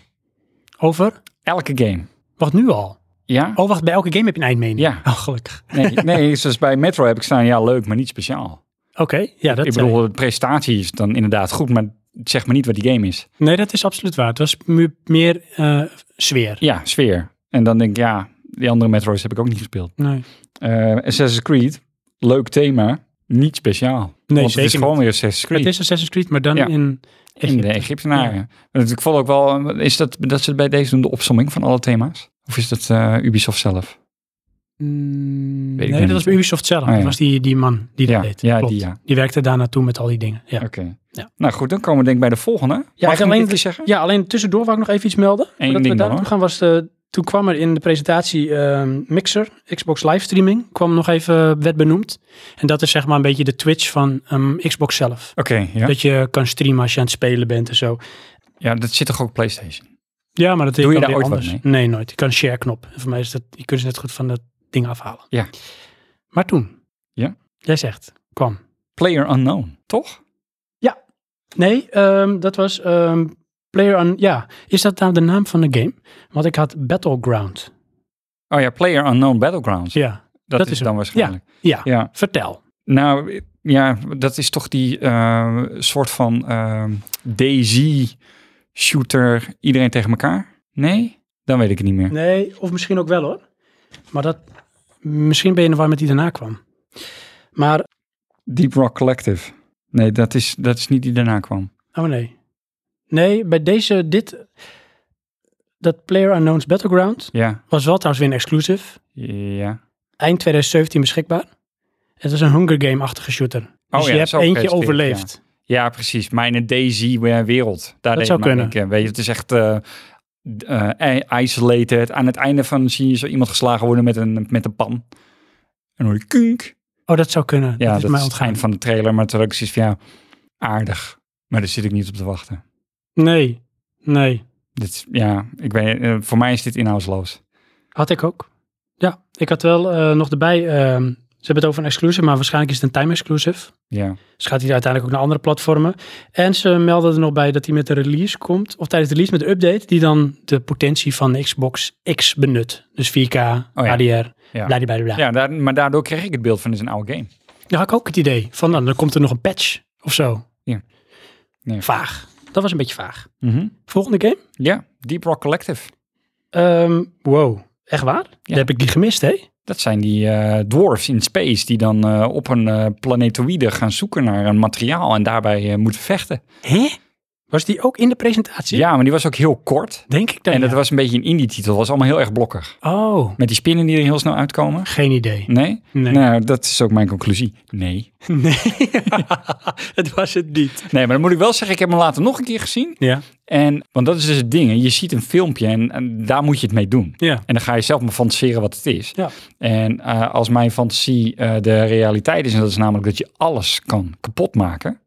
S1: over?
S2: Elke game.
S1: Wacht, nu al?
S2: Ja?
S1: Oh, wacht, bij elke game heb je een eindmening?
S2: Ja.
S1: Oh, gelukkig.
S2: Nee, nee, zoals bij Metro heb ik staan, ja leuk, maar niet speciaal.
S1: Oké, ja, dat
S2: ik
S1: zei
S2: bedoel, de prestatie is dan inderdaad goed, maar het zegt me niet wat die game is.
S1: eh, Nee, dat is absoluut waar. Het was mu- meer eh, sfeer.
S2: Ja, sfeer. En dan denk ik, ja, die andere Metro's heb ik ook niet gespeeld.
S1: Nee,
S2: Eh, Assassin's Creed, leuk thema, niet speciaal.
S1: nee
S2: Want het is
S1: zeker
S2: gewoon weer Assassin's Creed.
S1: Het is Assassin's Creed, maar dan
S2: Ja.
S1: in
S2: In de Egyptenaren. Want Ik vond ook wel, is dat, dat ze bij deze doen de opsomming van alle thema's? Of is dat eh, Ubisoft zelf?
S1: Mm,
S2: Weet
S1: nee,
S2: ik
S1: dat
S2: niet.
S1: was bij Ubisoft zelf.
S2: Ah, ja.
S1: Dat was die, die man die
S2: Ja,
S1: dat deed.
S2: ja,
S1: Klopt.
S2: die, ja.
S1: werkte daar naartoe met al die dingen. Ja.
S2: Oké.
S1: Ja.
S2: Nou goed, dan komen we denk ik bij de volgende. Ja, Mag ik
S1: alleen
S2: alleen
S1: de-
S2: zeggen?
S1: ja, alleen tussendoor wou ik nog even iets melden. Voordat
S2: ding
S1: we
S2: dan,
S1: daar
S2: hoor.
S1: gaan was de, toen kwam er in de presentatie ehm, Mixer, Xbox Livestreaming, kwam nog even, eh, werd benoemd. En dat is zeg maar een beetje de Twitch van ehm, Xbox zelf.
S2: Oké, ja.
S1: Dat je kan streamen als je aan het spelen bent en zo.
S2: ja. Dat zit toch ook op PlayStation?
S1: Ja, maar dat
S2: Doe je
S1: kan
S2: daar
S1: weer
S2: ooit wat
S1: anders. Nee, nooit. Je kan share knop. En voor mij is dat, je kunt ze net goed van dat ding afhalen.
S2: Ja.
S1: Maar toen.
S2: Ja.
S1: Jij zegt, kwam.
S2: Player Unknown, toch?
S1: Nee, ehm, dat was ehm, Player on. Ja, is dat nou de naam van de game? Want ik had Battleground.
S2: Oh ja, Player Unknown Battlegrounds.
S1: Ja.
S2: dat,
S1: dat
S2: is
S1: is hem.
S2: dan waarschijnlijk.
S1: Ja.
S2: ja.
S1: Vertel.
S2: Nou, ja, dat is toch die eh, soort van eh, DZ-shooter, iedereen tegen elkaar? Nee? Dan weet ik het niet meer.
S1: Nee, of misschien ook wel hoor. Maar dat. Misschien ben je er waar met die daarna kwam. Maar.
S2: Deep Rock Collective. Nee, dat is, dat is niet die daarna kwam.
S1: Oh nee. Nee, bij deze. Dit. Dat Player Unknown's Battleground.
S2: Ja,
S1: Was wel trouwens weer een exclusive.
S2: ja.
S1: eind 2017 beschikbaar. Het is een Hunger Game-achtige shooter. Dus
S2: Oh ja,
S1: je hebt
S2: zo
S1: eentje
S2: gepresenteerd,
S1: overleefd.
S2: Ja, precies. Maar in een DayZ-wereld. Daar deed
S1: zou
S2: me aan
S1: kunnen.
S2: denken. Weet je, het is echt eh, d- eh, i- isolated. Aan het einde van zie je zo iemand geslagen worden met een, met een pan. En dan hoor je kunk.
S1: Oh, dat zou kunnen.
S2: Ja,
S1: dat
S2: dat,
S1: is mij
S2: is het
S1: ontgaan.
S2: eind van de trailer. Maar toen had ik zoiets van, ja, aardig. Maar daar zit ik niet op te wachten.
S1: Nee, nee.
S2: Dit, is- ja, ik weet, eh, voor mij is dit inhoudsloos.
S1: Had ik ook. Ja, ik had wel eh, nog erbij. ehm, ze hebben het over een exclusive, maar waarschijnlijk is het een time-exclusive.
S2: Ja.
S1: Dus gaat hij uiteindelijk ook naar andere platformen. En ze melden er nog bij dat hij met de release komt. Of tijdens de release met de update. Die dan de potentie van de Xbox X benut. Dus 4K,
S2: Oh ja.
S1: ADR, ja.
S2: Ja.
S1: bladibladibla. Ja.
S2: Ja, daar, maar daardoor kreeg ik het beeld van, dit is een oude game.
S1: Dan had ik ook het idee van, nou, dan komt er nog een patch of zo.
S2: Ja. Nee.
S1: Vaag. Dat was een beetje vaag. Volgende game?
S2: Ja, Deep Rock Collective.
S1: Ehm, wow, echt waar? Dan heb ik die gemist, hè?
S2: Dat zijn die eh, dwarfs in space die dan eh, op een eh, planetoïde gaan zoeken naar een materiaal en daarbij eh, moeten vechten.
S1: Hè? Was die ook in de presentatie?
S2: Ja, maar die was ook heel kort.
S1: Denk ik dan.
S2: En dat
S1: ja.
S2: was een beetje een indie-titel. was allemaal heel erg blokkig.
S1: Oh,
S2: Met die spinnen die er heel snel uitkomen.
S1: geen idee.
S2: Nee?
S1: Nee.
S2: Nou, dat is ook mijn conclusie. Nee.
S1: Nee, het was het niet.
S2: Nee, maar dan moet ik wel zeggen, ik heb hem later nog een keer gezien.
S1: Ja,
S2: En, want dat is dus het ding. hè. Je ziet een filmpje en, en daar moet je het mee doen.
S1: ja.
S2: En dan ga je zelf maar fantaseren wat het is.
S1: Ja.
S2: En eh, als mijn fantasie eh, de realiteit is, en dat is namelijk dat je alles kan kapot maken.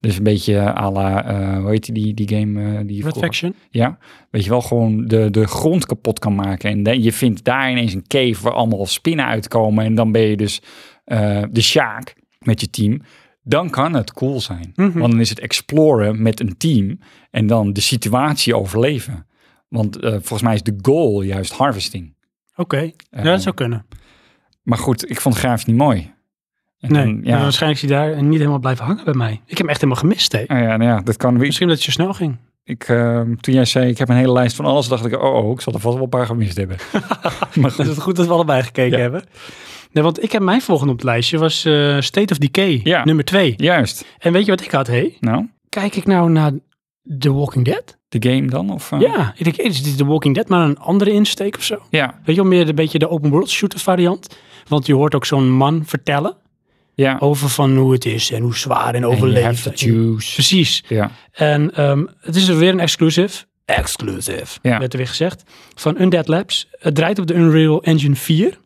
S2: Dus een beetje eh, à la, eh, hoe heet die, die game? eh, die
S1: Red
S2: je vroeger-
S1: Faction.
S2: Ja, weet je wel, gewoon de, de grond kapot kan maken. En dan- je vindt daar ineens een cave waar allemaal spinnen uitkomen. En dan ben je dus eh, de Sjaak met je team. Dan kan het cool zijn.
S1: Mhm.
S2: Want dan is het exploren met een team en dan de situatie overleven. Want eh, volgens mij is de goal juist harvesting.
S1: Oké,
S2: Eh,
S1: ja, dat zou kunnen.
S2: Maar goed, ik vond het grafisch niet mooi. En
S1: Nee,
S2: dan-
S1: maar
S2: ja.
S1: waarschijnlijk is hij daar niet helemaal blijven hangen bij mij. Ik heb hem echt helemaal gemist, hè.
S2: Ah ja, nou ja, dat kan. weer.
S1: Misschien dat het je snel ging.
S2: Ik, ehm, toen jij zei, ik heb een hele lijst van alles, dacht ik, oh, oh ik zal er vast wel een paar gemist hebben. maar
S1: Dat is
S2: goed.
S1: het goed dat we allebei gekeken
S2: Ja.
S1: hebben. Nee, want ik heb mijn volgende op het lijstje was eh, State of Decay,
S2: Ja.
S1: nummer 2.
S2: Juist.
S1: En weet je wat ik had, hé?
S2: Nou,
S1: Kijk ik nou naar The Walking Dead?
S2: de game dan? Of, eh,
S1: Ja, ik denk, hé, is dit The Walking Dead, maar een andere insteek of zo?
S2: Ja,
S1: Weet je wel, meer een beetje de open world shooter variant. Want je hoort ook zo'n man vertellen
S2: ja.
S1: over van hoe het is en hoe zwaar en
S2: And you have
S1: overleven.
S2: the juice.
S1: Precies.
S2: Ja,
S1: En ehm, het is weer een exclusive. Exclusive,
S2: Ja.
S1: werd er weer gezegd. Van Undead Labs. Het draait op de Unreal Engine 4.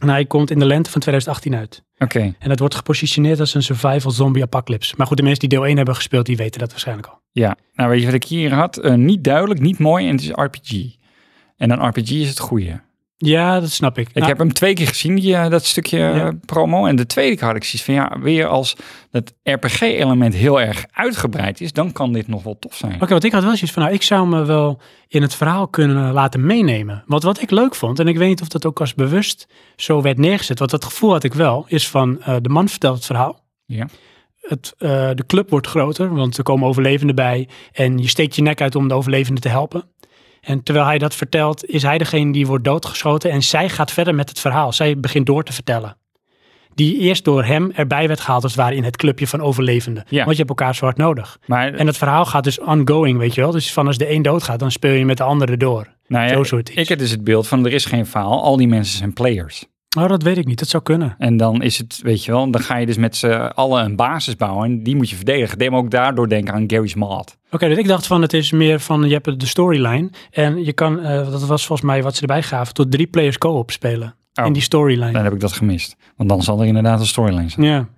S1: En hij komt in de lente van 2018 uit.
S2: oké.
S1: En het wordt gepositioneerd als een survival zombie apocalypse. Maar goed, de mensen die deel 1 hebben gespeeld, die weten dat waarschijnlijk al.
S2: Ja, nou weet je wat ik hier had? Eh, niet duidelijk, niet mooi en het is RPG. En een RPG is het goede.
S1: Ja, dat snap ik.
S2: Ik heb hem twee keer gezien, die, eh, dat stukje eh, promo. En de tweede keer had ik zoiets van, ja, weer als dat RPG-element heel erg uitgebreid is, dan kan dit nog wel tof zijn.
S1: Oké, want ik had wel zoiets van, nou, ik zou me wel in het verhaal kunnen laten meenemen. Want wat ik leuk vond, en ik weet niet of dat ook als bewust zo werd neergezet, want dat gevoel had ik wel, is van eh, de man vertelt het verhaal.
S2: Ja.
S1: Het, eh, de club wordt groter, want er komen overlevenden bij en je steekt je nek uit om de overlevenden te helpen. En terwijl hij dat vertelt, is hij degene die wordt doodgeschoten en zij gaat verder met het verhaal. Zij begint door te vertellen. Die eerst door hem erbij werd gehaald als het ware in het clubje van overlevenden.
S2: Ja.
S1: Want je hebt elkaar zo hard nodig.
S2: Maar
S1: En het verhaal gaat dus ongoing, weet je wel. Dus van als de een doodgaat, dan speel je met de andere door.
S2: nou ja,
S1: zo soort iets.
S2: ik heb dus het beeld van, er is geen faal, al die mensen zijn players.
S1: Oh, dat weet ik niet. Dat zou kunnen.
S2: En dan is het, weet je wel, dan ga je dus met z'n allen een basis bouwen en die moet je verdedigen. Denk maar ook daardoor denken aan Gary's Mod.
S1: Oké, dus ik dacht van het is meer van je hebt de storyline. En je kan, eh, dat was volgens mij wat ze erbij gaven, tot drie players co-op spelen.
S2: Oh.
S1: In die storyline.
S2: Dan heb ik dat gemist. Want dan zal er inderdaad een storyline zijn.
S1: Ja.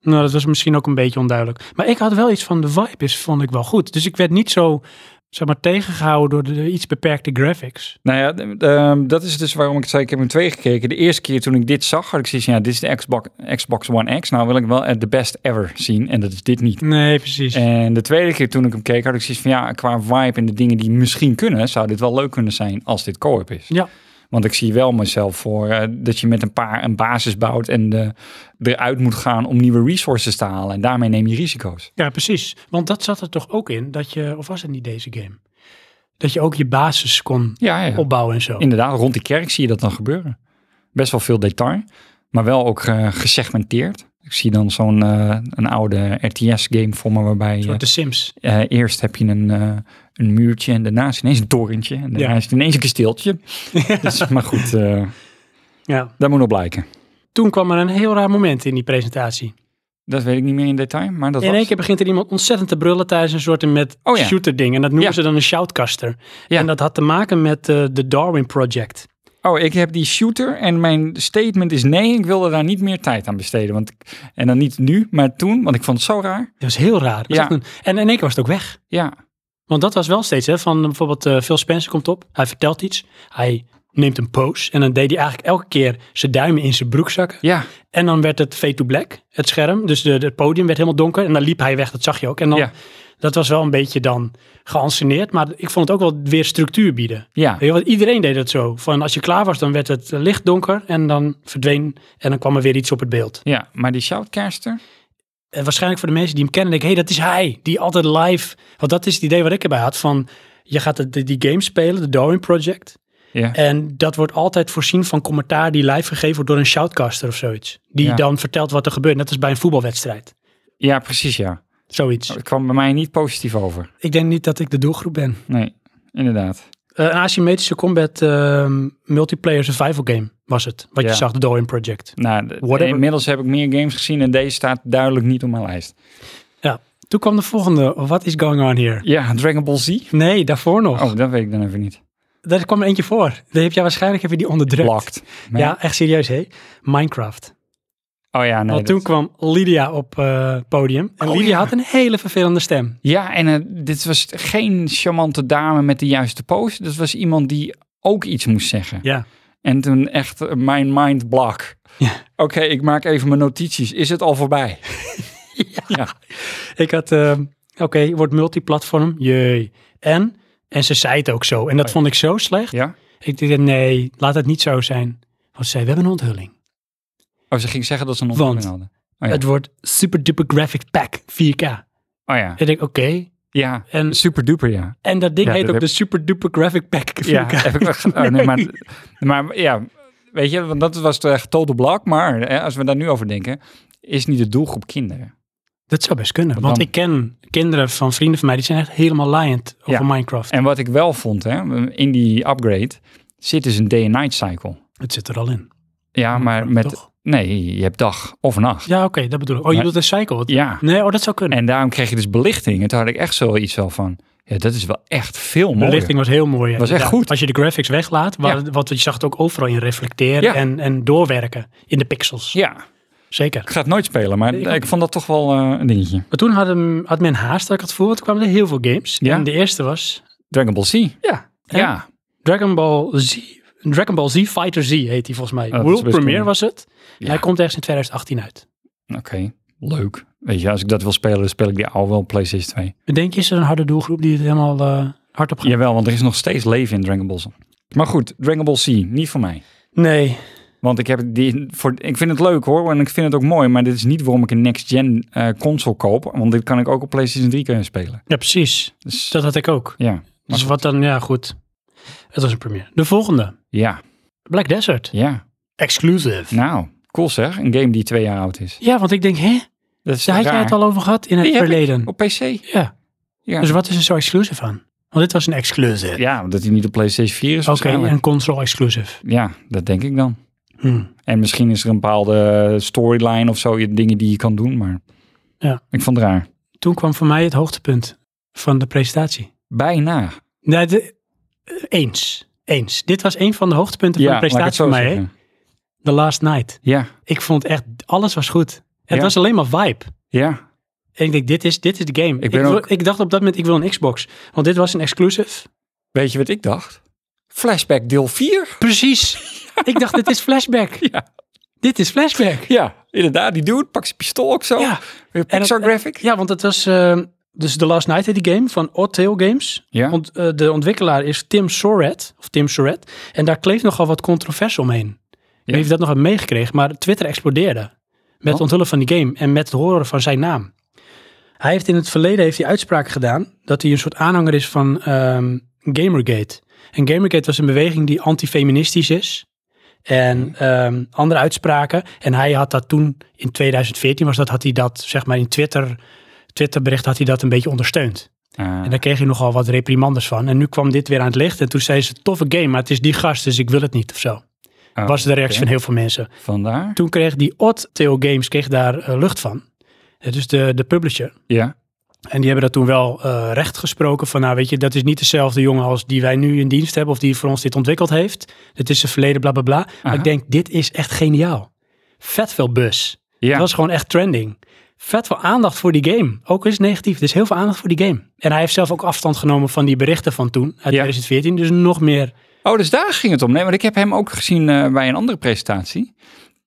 S1: Nou, dat was misschien ook een beetje onduidelijk. Maar ik had wel iets van de vibe is, vond ik wel goed. Dus ik werd niet zo, zeg maar, tegengehouden door de, de iets beperkte graphics.
S2: Nou ja, d- d- ehm, dat is dus waarom ik het zei, ik heb hem twee gekeken. De eerste keer toen ik dit zag, had ik zoiets van, ja, dit is de Xbox, Xbox One X. Nou wil ik wel eh, de best ever zien en dat is dit niet.
S1: Nee, precies.
S2: En de tweede keer toen ik hem keek, had ik zoiets van, ja, qua vibe en de dingen die misschien kunnen, zou dit wel leuk kunnen zijn als dit co-op is.
S1: Ja.
S2: Want ik zie wel mezelf voor eh, dat je met een paar een basis bouwt en eh, eruit moet gaan om nieuwe resources te halen. En daarmee neem je risico's.
S1: Ja, precies. Want dat zat er toch ook in dat je, of was het niet deze game? Dat je ook je basis kon
S2: Ja, ja.
S1: opbouwen en zo.
S2: inderdaad, rond die kerk zie je dat dan gebeuren. Best wel veel detail, maar wel ook eh, gesegmenteerd. Ik zie dan zo'n eh, een oude RTS-game voor me, waarbij
S1: Een
S2: je,
S1: soort de Sims.
S2: eh, eerst heb je een, eh, een muurtje en daarna is ineens een torentje en daarna
S1: Ja.
S2: is het ineens een kasteeltje. Dus, maar goed, eh
S1: Ja.
S2: dat moet nog blijken.
S1: Toen kwam er een heel raar moment in die presentatie.
S2: Dat weet ik niet meer in detail, maar dat
S1: in één
S2: was...
S1: keer begint er iemand ontzettend te brullen tijdens een soort met
S2: Oh ja.
S1: shooter ding. En dat noemen
S2: Ja.
S1: ze dan een shoutcaster.
S2: Ja.
S1: En dat had te maken met eh, de Darwin Project.
S2: Oh, ik heb die shooter en mijn statement is nee, ik wilde daar niet meer tijd aan besteden. Want, ik- en dan niet nu, maar toen, want ik vond het zo raar.
S1: Dat was heel raar. Dat was
S2: Ja.
S1: echt een- en in één keer was het ook weg.
S2: Ja,
S1: Want dat was wel steeds, hè, van bijvoorbeeld eh, Phil Spencer komt op, hij vertelt iets, hij neemt een pose en dan deed hij eigenlijk elke keer zijn duimen in zijn broekzakken.
S2: ja,
S1: En dan werd het fade to black, het scherm. Dus de, het podium werd helemaal donker. En dan liep hij weg, dat zag je ook. En dan,
S2: Ja.
S1: dat was wel een beetje dan geanceneerd. Maar ik vond het ook wel weer structuur bieden.
S2: ja.
S1: Weet je, want iedereen deed het zo. Van als je klaar was, dan werd het eh, licht donker. En dan verdween, en dan kwam er weer iets op het beeld.
S2: Ja, maar die shoutcaster,
S1: En waarschijnlijk voor de mensen die hem kennen, denk ik... Hé, hey, dat is hij, die altijd live... Want dat is het idee wat ik erbij had. Van, je gaat het- die, die game spelen, de Darwin Project.
S2: Ja.
S1: En dat wordt altijd voorzien van commentaar die live gegeven wordt door een shoutcaster of zoiets. Die
S2: Ja.
S1: dan vertelt wat er gebeurt. Net als bij een voetbalwedstrijd.
S2: Ja, precies ja.
S1: Zoiets.
S2: Het kwam bij mij niet positief over.
S1: Ik denk niet dat ik de doelgroep ben.
S2: Nee, inderdaad.
S1: Eh, een asymmetrische combat ehm, multiplayer survival game was het. Wat
S2: Ja.
S1: je zag, de Darwin Project.
S2: Nou, d-
S1: Whatever.
S2: inmiddels heb ik meer games gezien en deze staat duidelijk niet op mijn lijst.
S1: Ja. Toen kwam de volgende. What is going on here?
S2: Ja, Dragon Ball Z?
S1: Nee, daarvoor nog.
S2: Oh, dat weet ik dan even niet.
S1: Daar kwam er eentje voor. Die heb jij waarschijnlijk heb je die onderdrukt.
S2: Blocked. Maar-
S1: Ja, echt serieus hé. Minecraft.
S2: Oh ja, nee.
S1: Want toen
S2: dat-
S1: kwam Lydia op eh, het podium. En
S2: Oh,
S1: Lydia
S2: ja.
S1: had een hele vervelende stem.
S2: Ja, en eh, dit was geen charmante dame met de juiste pose. Dat was iemand die ook iets moest zeggen.
S1: Ja.
S2: En toen echt eh, mijn mind block.
S1: Ja.
S2: Oké, ik maak even mijn notities. Is het al voorbij?
S1: Ik had, ehm, oké, wordt multiplatform. Jee. En? En ze zei het ook zo. En dat vond ik zo slecht.
S2: Oh Ja?
S1: Ik dacht, nee, laat het niet zo zijn. Want ze zei, we hebben een onthulling.
S2: Oh, ze ging zeggen dat ze een
S1: Want-
S2: ontwikkeling hadden. Oh ja.
S1: Het wordt Super Duper Graphic Pack 4K.
S2: Oh ja.
S1: Ik denk, oké.
S2: Ja,
S1: En-
S2: super duper ja.
S1: En dat ding
S2: Ja,
S1: heet
S2: dat
S1: ook
S2: heb-
S1: de Super Duper Graphic Pack 4K.
S2: Ja, heb ik wel ge- oh, nee, maar, maar ja, weet je, want dat was het echt total blok. Maar hè, als we daar nu over denken, is niet de doelgroep kinderen.
S1: Dat zou best kunnen.
S2: Want
S1: Want
S2: dan-
S1: ik ken kinderen van vrienden van mij, die zijn echt helemaal liant over
S2: Ja.
S1: Minecraft.
S2: En wat ik wel vond, hè, in die upgrade zit dus een day and night cycle.
S1: Het zit er al in.
S2: Ja, maar met...
S1: Oh, Toch?
S2: Nee, je hebt dag of nacht.
S1: Ja, oké, dat bedoel ik. Oh, je
S2: Maar-
S1: bedoelt een cycle? Wat-
S2: Ja.
S1: Nee, oh, dat zou kunnen.
S2: En daarom kreeg je dus belichting. En toen had ik echt zoiets wel van, ja, dat is wel echt veel
S1: de
S2: mooier.
S1: lichting was heel mooi. ja,
S2: Was echt
S1: inderdaad.
S2: goed.
S1: Als je de graphics weglaat, wa-
S2: Ja.
S1: want je zag het ook overal in reflecteren
S2: Ja.
S1: en, en doorwerken in de pixels.
S2: Ja,
S1: Zeker.
S2: ik ga het nooit spelen, maar
S1: Ik
S2: ik,
S1: ook
S2: vond dat toch wel eh, een dingetje.
S1: Maar toen had, hem, had men haast, had ik het voor, want er kwamen er heel veel games.
S2: Ja.
S1: En de eerste was
S2: Dragon Ball Z.
S1: ja, hè?
S2: Ja,
S1: Dragon Ball Z. Dragon Ball Z Fighter Z heet die volgens mij.
S2: Oh, dat is
S1: World
S2: best
S1: Premiere
S2: cool.
S1: was het. En
S2: Ja.
S1: hij komt ergens in 2018 uit.
S2: oké, leuk. Weet je, als ik dat wil spelen, dan speel ik die al wel op PlayStation 2.
S1: Denk je, is er een harde doelgroep die het helemaal eh, hard op gaat?
S2: Jawel, want er is nog steeds leven in Dragon Ball Z. Maar goed, Dragon Ball Z, niet voor mij.
S1: Nee,
S2: Want ik, heb die voor, ik vind het leuk hoor, en ik vind het ook mooi. Maar dit is niet waarom ik een next-gen eh, console koop. Want dit kan ik ook op PlayStation 3 kunnen spelen.
S1: ja precies.
S2: Dus
S1: Dat had ik ook.
S2: ja,
S1: Dus wat dan, ja goed. Het was een premiere. De volgende.
S2: ja,
S1: Black Desert.
S2: ja.
S1: Exclusive.
S2: Nou, cool zeg. Een game die twee jaar oud is.
S1: Ja, want ik denk, hè?
S2: Dat is
S1: Daar had
S2: raar.
S1: jij het al over gehad in het
S2: Die heb ik
S1: verleden.
S2: Op PC?
S1: Ja.
S2: Ja.
S1: Dus wat is er zo exclusive aan? Want dit was een exclusive.
S2: Ja, omdat hij niet op PlayStation 4 is.
S1: Oké,
S2: waarschijnlijk.
S1: een console exclusive.
S2: Ja, dat denk ik dan.
S1: Hm.
S2: En misschien is er een bepaalde storyline of zo, dingen die je kan doen. Maar
S1: Ja.
S2: ik vond het raar.
S1: Toen kwam voor mij het hoogtepunt van de presentatie.
S2: Bijna.
S1: Nee, de- eh, eens. Eens. Dit was een van de hoogtepunten van
S2: Ja,
S1: de presentatie
S2: laat
S1: voor
S2: ik het zo
S1: mij. hè?
S2: zeggen.
S1: The Last Night.
S2: Ja,
S1: Ik vond echt, alles was goed. Het
S2: Ja.
S1: was alleen maar vibe.
S2: ja.
S1: En ik denk, dit is, dit is de game. Ik,
S2: ben
S1: wil-
S2: ook-
S1: ik dacht op dat moment, ik wil een Xbox. Want dit was een exclusive.
S2: Weet je wat ik dacht? Flashback deel 4?
S1: Precies. ik dacht, dit is flashback.
S2: Ja.
S1: Dit is flashback.
S2: Ja, inderdaad. Die dude pakt zijn pistool ook zo.
S1: Ja.
S2: Weer
S1: En
S2: Oh, Pixar
S1: het-
S2: graphic.
S1: Ja, want het was eh, dus The Last Night, heet die game, van Odd Tail Games.
S2: Ja.
S1: Want eh, de ontwikkelaar is Tim Soret, of Tim Soret. En daar kleeft nogal wat controverse omheen. Ik weet
S2: Ja.
S1: niet of je dat nog hebt meegekregen, maar Twitter explodeerde. Met het
S2: Oh.
S1: onthullen van die game en met het horen van zijn naam. Hij heeft in het verleden heeft hij uitspraken gedaan dat hij een soort aanhanger is van ehm, Gamergate. En Gamergate was een beweging die antifeministisch is.
S2: Hmm.
S1: En ehm, andere uitspraken. En hij had dat toen, in 2014 was dat, had hij dat, zeg maar in Twitter, Twitterbericht had hij dat een beetje ondersteund.
S2: Ah,
S1: En daar kreeg je nogal wat reprimandes van. En nu kwam dit weer aan het licht. En toen zei ze, toffe game, maar het is die gast, dus ik wil het niet of zo.
S2: oh,
S1: was de reactie
S2: oké.
S1: van heel veel mensen.
S2: Vandaar?
S1: Toen kreeg die Odd Tail Games kreeg daar eh, lucht van. Eh, dus de, de publisher.
S2: Ja.
S1: En die hebben dat toen wel eh, recht gesproken van, nou weet je, dat is niet dezelfde jongen als die wij nu in dienst hebben of die voor ons dit ontwikkeld heeft. Het is zijn verleden, bla bla bla. Maar
S2: Aha.
S1: ik denk, dit is echt geniaal. Vet veel buzz.
S2: Ja.
S1: Het was gewoon echt trending. Vet veel aandacht voor die game. Ook is het negatief. Er is heel veel aandacht voor die game. En hij heeft zelf ook afstand genomen van die berichten van toen, uit 2014. Dus nog meer.
S2: Oh, dus daar ging het om. Nee, want ik heb hem ook gezien eh, bij een andere presentatie.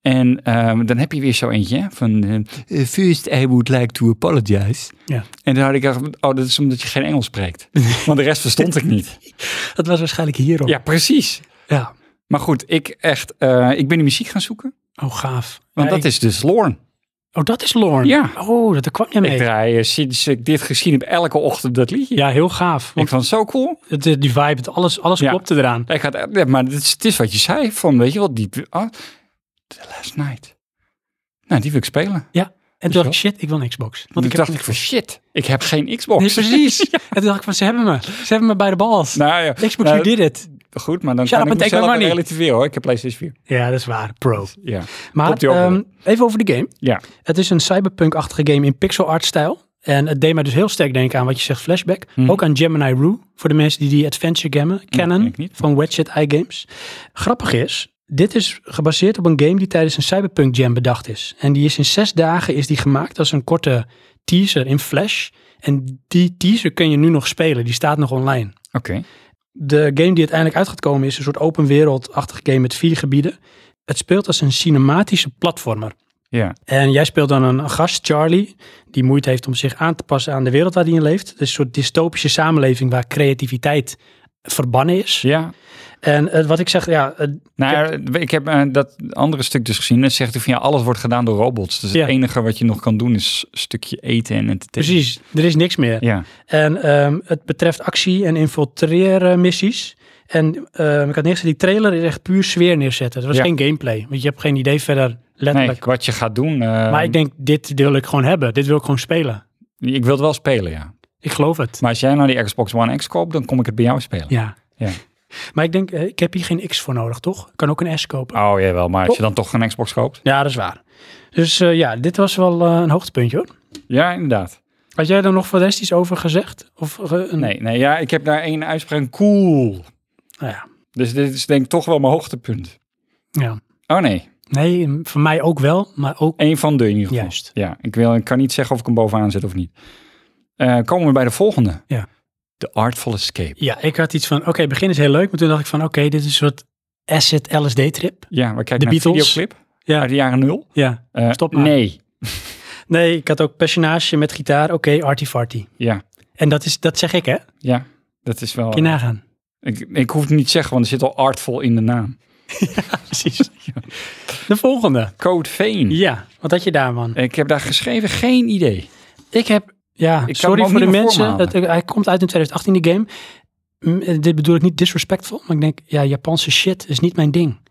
S2: En ehm, dan heb je weer zo eentje hè, van... eh, First, I would like to apologize.
S1: Ja.
S2: En toen had ik gedacht, oh, dat is omdat je geen Engels spreekt. Want de rest verstond ik niet.
S1: Dat was waarschijnlijk hierop.
S2: Ja, precies.
S1: Ja.
S2: Maar goed, ik echt... eh, ik ben die muziek gaan zoeken.
S1: Oh, gaaf.
S2: Want
S1: Ja,
S2: dat
S1: ik-
S2: is dus Lorne.
S1: Oh, dat is Lorne.
S2: Ja.
S1: Oh, dat daar kwam je
S2: Ik
S1: mee.
S2: draai eh, sinds ik dit gezien heb elke ochtend dat liedje.
S1: Ja, heel gaaf.
S2: Ik
S1: Want
S2: vond het zo cool.
S1: het, eh, die vibe, het, alles, alles
S2: Ja.
S1: klopte eraan.
S2: Ik had, ja, maar het is, het is wat je zei. Van, weet je wat, die... ah, The Last Night. Nou, die wil ik spelen.
S1: En toen
S2: Zo.
S1: dacht ik, shit, ik wil een Xbox.
S2: Want
S1: ik heb
S2: ik dacht ik
S1: een
S2: van
S1: Xbox.
S2: shit, ik heb geen Xbox.
S1: Nee, precies. En toen dacht ik van, ze hebben me. Ze hebben me bij de balls.
S2: nou ja,
S1: Xbox, you
S2: Nou,
S1: did it.
S2: goed, maar dan
S1: Shut
S2: kan
S1: up
S2: ik
S1: and take my
S2: mezelf
S1: money.
S2: relativeren hoor. Ik heb PlayStation 4.
S1: Ja, dat is waar. Pro.
S2: Ja.
S1: Maar
S2: Komt-ie op, hoor.
S1: ehm, even over de game.
S2: Ja.
S1: Het is een cyberpunk-achtige game in pixel art stijl. En het deed mij dus heel sterk denken aan wat je zegt, Flashback.
S2: Mhm.
S1: Ook aan Gemini Rue, voor de mensen die die adventure gamen kennen
S2: ken ik niet.
S1: van Wedget Eye Games. Grappig is, dit is gebaseerd op een game die tijdens een cyberpunk jam bedacht is. En die is in zes dagen is die gemaakt als een korte teaser in Flash. En die teaser kun je nu nog spelen, die staat nog online.
S2: Oké.
S1: De game die uiteindelijk uit gaat komen is een soort open wereldachtige game met vier gebieden. Het speelt als een cinematische platformer.
S2: Ja.
S1: En jij speelt dan een gast, Charlie, die moeite heeft om zich aan te passen aan de wereld waar hij in leeft. Dus een soort dystopische samenleving waar creativiteit verbannen is.
S2: Ja,
S1: En eh, wat ik zeg, ja, eh,
S2: Nou, ja, ik heb eh, dat andere stuk dus gezien. Dat zegt hij van ja, alles wordt gedaan door robots. Dus
S1: Ja.
S2: het enige wat je nog kan doen is een stukje eten en entertainen.
S1: precies, er is niks meer.
S2: Ja,
S1: En ehm, het betreft actie- en infiltreren missies. En ehm, ik had neergezet, die trailer is echt puur sfeer neerzetten. Het was
S2: Ja.
S1: geen gameplay, want je hebt geen idee verder
S2: nee,
S1: letterlijk.
S2: wat je gaat doen. eh,
S1: maar ik denk, dit wil ik gewoon hebben. Dit wil ik gewoon spelen.
S2: ik wil het wel spelen, ja.
S1: Ik geloof het.
S2: Maar als jij nou die Xbox One X koopt, dan kom ik het bij jou spelen.
S1: Ja.
S2: Ja.
S1: Maar ik denk, eh, ik heb hier geen X voor nodig, toch? Ik kan ook een S kopen.
S2: Oh jawel, maar als je dan toch een Xbox koopt.
S1: Ja, dat is waar. Dus eh, ja, dit was wel eh, een hoogtepuntje hoor.
S2: Ja, inderdaad.
S1: Had jij er nog voor de rest iets over gezegd? Of, eh, een-
S2: Nee, nee, ja, ik heb daar één uitspraak. Cool.
S1: Nou ja.
S2: Dus dit is denk ik toch wel mijn hoogtepunt.
S1: ja.
S2: Oh nee,
S1: Nee, voor mij ook wel, maar ook
S2: één van de in ieder geval.
S1: juist.
S2: Ja, ik, wil, ik kan niet zeggen of ik hem bovenaan zet of niet. Eh, komen we bij de volgende.
S1: Ja.
S2: The Artful Escape.
S1: Ja, ik had iets van, oké, het begin is heel leuk. Maar toen dacht ik van, oké, dit is een soort asset LSD-trip.
S2: Ja, we kijken
S1: De
S2: naar een
S1: Beatles.
S2: videoclip
S1: Ja.
S2: uit de jaren nul.
S1: Ja.
S2: Eh,
S1: Stop maar.
S2: Nee.
S1: Nee, ik had ook personage met gitaar. Oké, artifarty.
S2: Ja,
S1: En dat, is, dat zeg ik, hè? Kun
S2: ja. Dat is wel...
S1: je nagaan.
S2: Ik, ik hoef het niet te zeggen, want er zit al artful in de naam.
S1: Precies. Hm. De volgende.
S2: Code Vein.
S1: Ja, wat had je daar, man?
S2: Ik heb daar geschreven geen idee.
S1: Ik heb, ja,
S2: kan
S1: sorry
S2: hem ook
S1: voor de
S2: niet meer voor me
S1: mensen.
S2: halen.
S1: Het, hij komt uit in 2018, die game. Mm, eh, dit bedoel ik niet disrespectful, maar ik denk, ja, Japanse shit is niet mijn ding.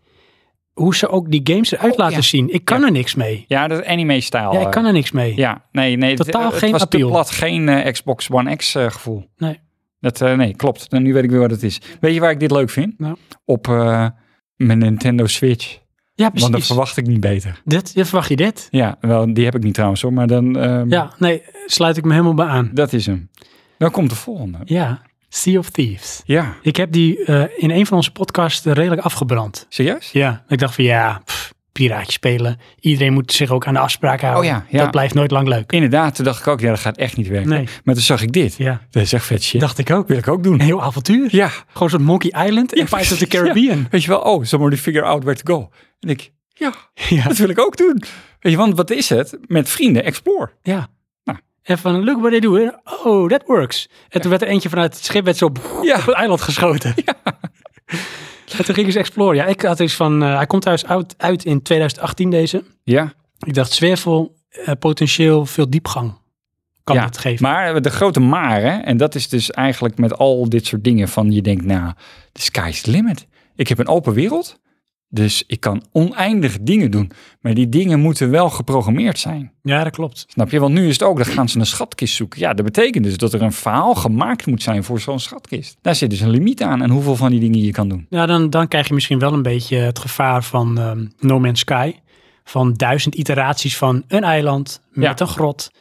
S1: Hoe ze ook die games eruit
S2: Oh,
S1: laten
S2: ja.
S1: zien. Ik kan er niks mee.
S2: Ja, dat is anime-stijl. eh.
S1: Ja, ik kan er niks mee.
S2: Ja, nee, nee. het- eh,
S1: Totaal
S2: het,
S1: geen
S2: was te
S1: appeal.
S2: plat, geen eh, Xbox One X eh, gevoel.
S1: Nee.
S2: Dat, eh, nee, klopt. Nou, nu weet ik weer wat het is. Weet je waar ik dit leuk vind?
S1: Nou.
S2: Op eh, mijn Nintendo Switch.
S1: Ja,
S2: Want dan
S1: precies.
S2: verwacht ik niet beter.
S1: Dit, ja, verwacht je dit?
S2: Ja, wel, die heb ik niet trouwens hoor. Maar dan, ehm,
S1: Ja, nee, sluit ik me helemaal bij aan.
S2: dat is hem. Dan komt de volgende.
S1: Ja, Sea of Thieves.
S2: Ja,
S1: Ik heb die eh, in een van onze podcasts redelijk afgebrand.
S2: serieus?
S1: Ja, ik dacht van ja, pff, piraatje spelen. Iedereen moet zich ook aan de afspraken houden.
S2: Oh ja, ja.
S1: Dat blijft nooit lang leuk.
S2: Inderdaad, toen dacht ik ook, ja, dat gaat echt niet werken.
S1: Nee.
S2: Maar toen zag ik dit.
S1: Ja,
S2: Dat is echt vet shit.
S1: dacht ik ook.
S2: wil ik ook doen.
S1: Een heel avontuur.
S2: Ja,
S1: Gewoon zo'n Monkey Island en Pirates of the
S2: precies, ja.
S1: Caribbean.
S2: weet je wel, oh, somebody figure out where to go. En ik, ja,
S1: Ja,
S2: dat wil ik ook doen. Weet je, want wat is het? Met vrienden, explore.
S1: ja.
S2: Nou.
S1: En van, look what they do. En, Oh, that works. En toen werd er eentje vanuit het schip werd zo
S2: Ja.
S1: op het eiland geschoten. En toen gingen ze exploren. Ja, ik had iets van, eh, hij komt thuis uit, uit in 2018 deze.
S2: Ja,
S1: Ik dacht, zwervel, eh, potentieel veel diepgang kan
S2: ja.
S1: het geven.
S2: Maar de grote maar, hè, en dat is dus eigenlijk met al dit soort dingen van je denkt, nou, the sky's the limit. Ik heb een open wereld, dus ik kan oneindig dingen doen. Maar die dingen moeten wel geprogrammeerd zijn.
S1: ja, dat klopt.
S2: Snap je? Want nu is het ook, dan gaan ze een schatkist zoeken. Ja, dat betekent dus dat er een verhaal gemaakt moet zijn voor zo'n schatkist. Daar zit dus een limiet aan en hoeveel van die dingen je kan doen.
S1: Ja, dan, dan krijg je misschien wel een beetje het gevaar van ehm, No Man's Sky. Van duizend iteraties van een eiland met
S2: Ja.
S1: een grot